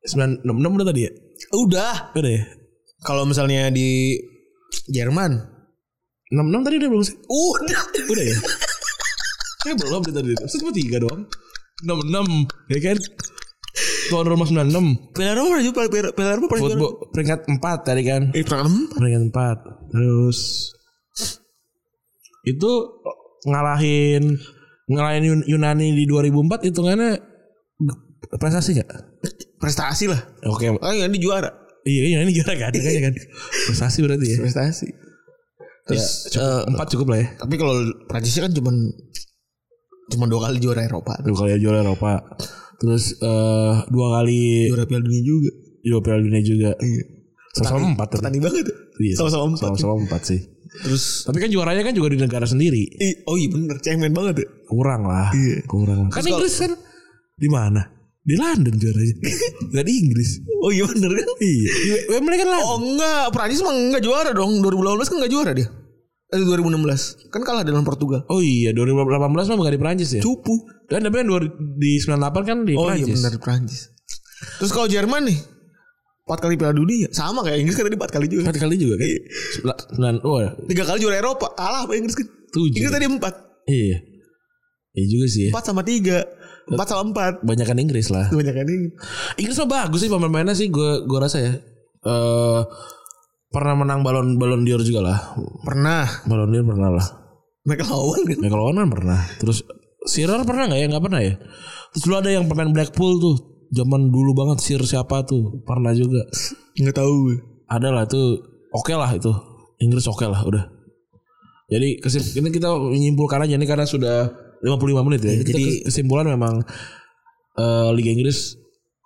966 udah tadi ya?
Udah.
Udah ya?
Kalau misalnya di Jerman.
66 tadi udah belum sih?
Uh, Udah.
Udah ya? Kayak belum deh tadi. Terus cuma 3 doang. 66 ya kan? Tuan rumah 96
Piala Eropa pernah juara Piala Eropa pernah juara.
Football peringkat 4 tadi kan
Eh, pernah empat.
Peringkat 4 Terus itu ngalahin ngalahin Yun- Yunani di 2004 hitungannya g- prestasi nggak?
Prestasi lah.
Oke,
Kan yang di juara.
iya Yunani juara kan, kan, kan. Prestasi Ya, berarti ya.
Prestasi. Terus
Cukup,
eh,
empat cukup lah ya.
tapi kalau Prancisnya kan cuman cuman dua kali juara Eropa.
Dua kali juara Eropa. Terus eh dua kali
Juara Piala Dunia juga.
juara Piala Dunia juga.
Iya.
Sama-sama empat tapi.
Petani banget.
Iya,
Sama-sama empat.
Sama-sama empat sih.
Terus
Tapi kan juaranya kan juga di negara sendiri.
Ih, oh iya bener cemen banget ya.
Kurang lah.
Iya.
Kurang. Kan
Terus kalau-
Inggris kan di mana? Di London juaranya. Gak di Inggris.
Oh iya bener kan?
Iya. Wembley kan London.
Oh enggak, Prancis mah enggak juara dong. 2018 kan enggak juara dia. Eh 2016 kan kalah dengan Portugal.
Oh iya 2018 mah bukan di Prancis ya?
Cupu.
Dan tapi kan dua- di 98 kan di
Oh
Prancis.
iya benar Prancis. Terus kalau Jerman nih empat kali Piala Dunia sama kayak Inggris kan tadi empat kali juga.
Empat kali juga kan? Sembilan, sembilan, oh ya,
Tiga kali juara Eropa kalah apa Inggris kan?
Tujuh.
Inggris tadi empat,
iya. Iya juga sih ya.
empat sama tiga, empat sama empat.
Banyakan Inggris lah.
Banyak kan ini.
Inggris mah bagus sih pemain-pemainnya sih gue gua rasa ya. Eh pernah menang balon balon dior juga lah.
Pernah
Balon dior pernah lah.
mereka lawan kan?
Michael Owen pernah. Terus Sirer pernah nggak ya? Nggak pernah ya. Terus dulu ada yang pemain Blackpool tuh. Zaman dulu banget Sir siapa tuh. Pernah juga.
Nggak tahu. gue.
Ada lah tuh. Oke lah itu. Inggris oke lah udah. Jadi kesim ini kita menyimpulkan aja nih karena sudah 55 menit ya. Jadi
jadi-
kesimpulan memang eh, Liga Inggris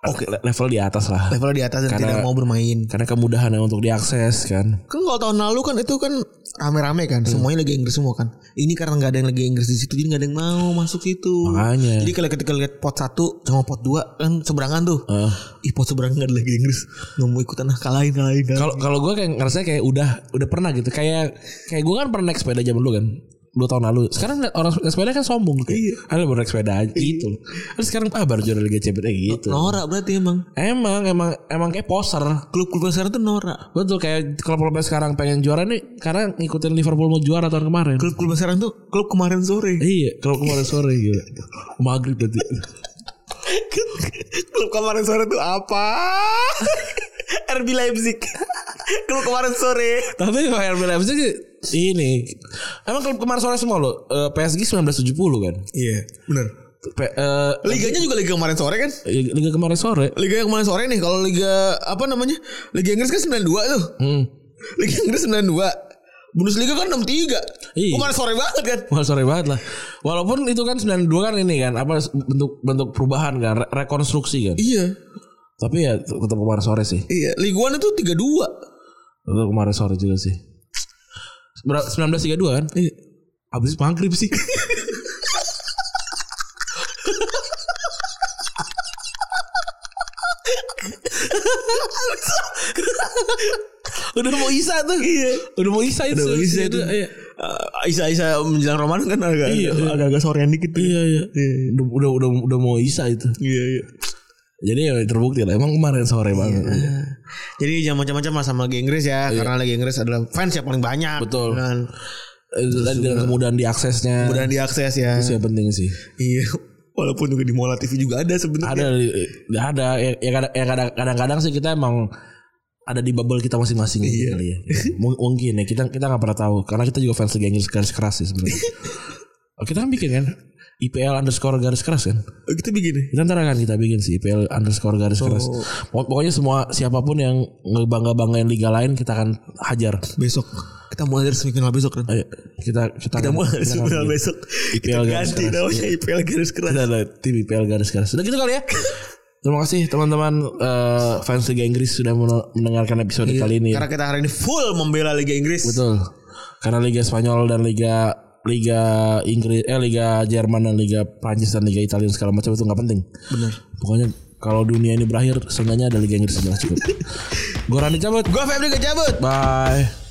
oke level di atas lah.
Levelnya di atas dan
Karena-
tidak mau bermain.
Karena kemudahannya untuk diakses kan.
Kan kalau tahun lalu kan itu kan rame-rame
Hmm.
kan, semuanya lagi Inggris semua kan. Ini karena nggak ada yang lagi Inggris di situ, jadi nggak ada yang mau masuk situ.
Makanya.
Jadi kalau ketika lihat pot satu sama pot dua kan seberangan tuh.
Eh,
Ih pot seberang gak ada lagi Inggris Gak mau ikutan ah kalahin kalahin kalahin.
Kalau kalau gue kayak ngerasa kayak udah udah pernah gitu. Kayak kayak gue kan pernah naik sepeda zaman dulu kan. Dua tahun lalu. Sekarang orang naik sepeda kan sombong kayak. Iya. Ada baru naik sepeda aja gitu. loh. Terus sekarang ah baru juara Liga Champions eh, gitu.
Norak berarti emang
Emang emang emang kayak poser.
Klub-klub yang sekarang tuh norak
Betul kayak klub-klub yang sekarang pengen juara nih karena ngikutin Liverpool mau juara tahun kemarin.
Klub-klub yang sekarang tuh Klub kemarin sore
Iya, kalau kemarin sore gitu. Maghrib tadi.
Klub kemarin sore tuh apa? RB Leipzig Klub kemarin sore
Tapi kalau RB Leipzig sih ini emang klub kemarin sore semua loh. Eh, PSG 1970 kan.
Iya bener
P- eh,
Liganya juga liga kemarin sore kan
Liga kemarin sore.
Liga yang kemarin sore nih Kalau liga apa namanya Liga Inggris kan 92 tuh
Hmm.
Liga Inggris 92 Bundesliga kan 63
Iya.
Kemarin sore banget kan
Wah sore banget lah. Walaupun itu kan 92 kan ini kan apa bentuk bentuk perubahan kan re- rekonstruksi kan.
Iya
Tapi ya t- tetap kemarin sore sih.
Iya Liga 1 itu 32
Tetap kemarin sore juga sih. Ber- 1932 kan?
Iya
Habis maghrib sih. Udah mau isa tuh. Iya. Udah mau isa itu.
Udah mau isa itu.
Iya.
Eh, Isa-isa menjelang Ramadan kan agak
Iya, iya.
agak sorean dikit.
Iya, iya. Udah, udah udah udah mau isa itu.
Iya, iya.
Jadi ya terbukti lah emang kemarin sore banget.
Iya. Nah, Jadi jangan macam-macam lah sama Liga Inggris ya, karena Liga Inggris adalah fans yang paling banyak.
Betul.
Dan
Eh, Dan dan kemudahan diaksesnya
mudah diakses ya.
itu yang penting sih.
Iya. Walaupun juga di Mola TV juga ada sebenarnya.
Ada ada ya, ya kadang- ya kadang- kadang-kadang sih kita emang ada di bubble kita masing-masing gitu
Iya.
kali ya. Mung- Mungkin ya kita kita nggak pernah tahu karena kita juga fans Liga Inggris garis keras sih sebenarnya. Oh, kita kan bikin kan IPL underscore garis keras kan.
Oh, Kita begini.
Kita ntar akan kita bikin sih IPL underscore garis
Oh.
keras. Pok- Pokoknya semua siapapun yang ngebangga-banggain liga lain kita akan hajar.
Besok kita mulai dari semifinal besok kan.
Ayo kita kita,
Kita
akan-
mulai
kita
dari
akan
semifinal
bikin.
besok. Kita
IPL garis
ganti
keras.
namanya IPL garis keras.
Udah, udah, tim IPL garis keras. Udah gitu kali ya. Terima kasih teman-teman eh, fans Liga Inggris sudah men- mendengarkan episode kali ini.
Karena kita hari ini full membela Liga Inggris.
Betul. Karena Liga Spanyol dan Liga Liga Inggris eh Liga Jerman dan Liga Prancis dan Liga Italia dan segala macam itu nggak penting.
Bener.
Pokoknya kalau dunia ini berakhir, seenggaknya ada Liga Inggris yang jelas cukup. Gue Rani cabut.
Gua Febri kecabut.
Bye.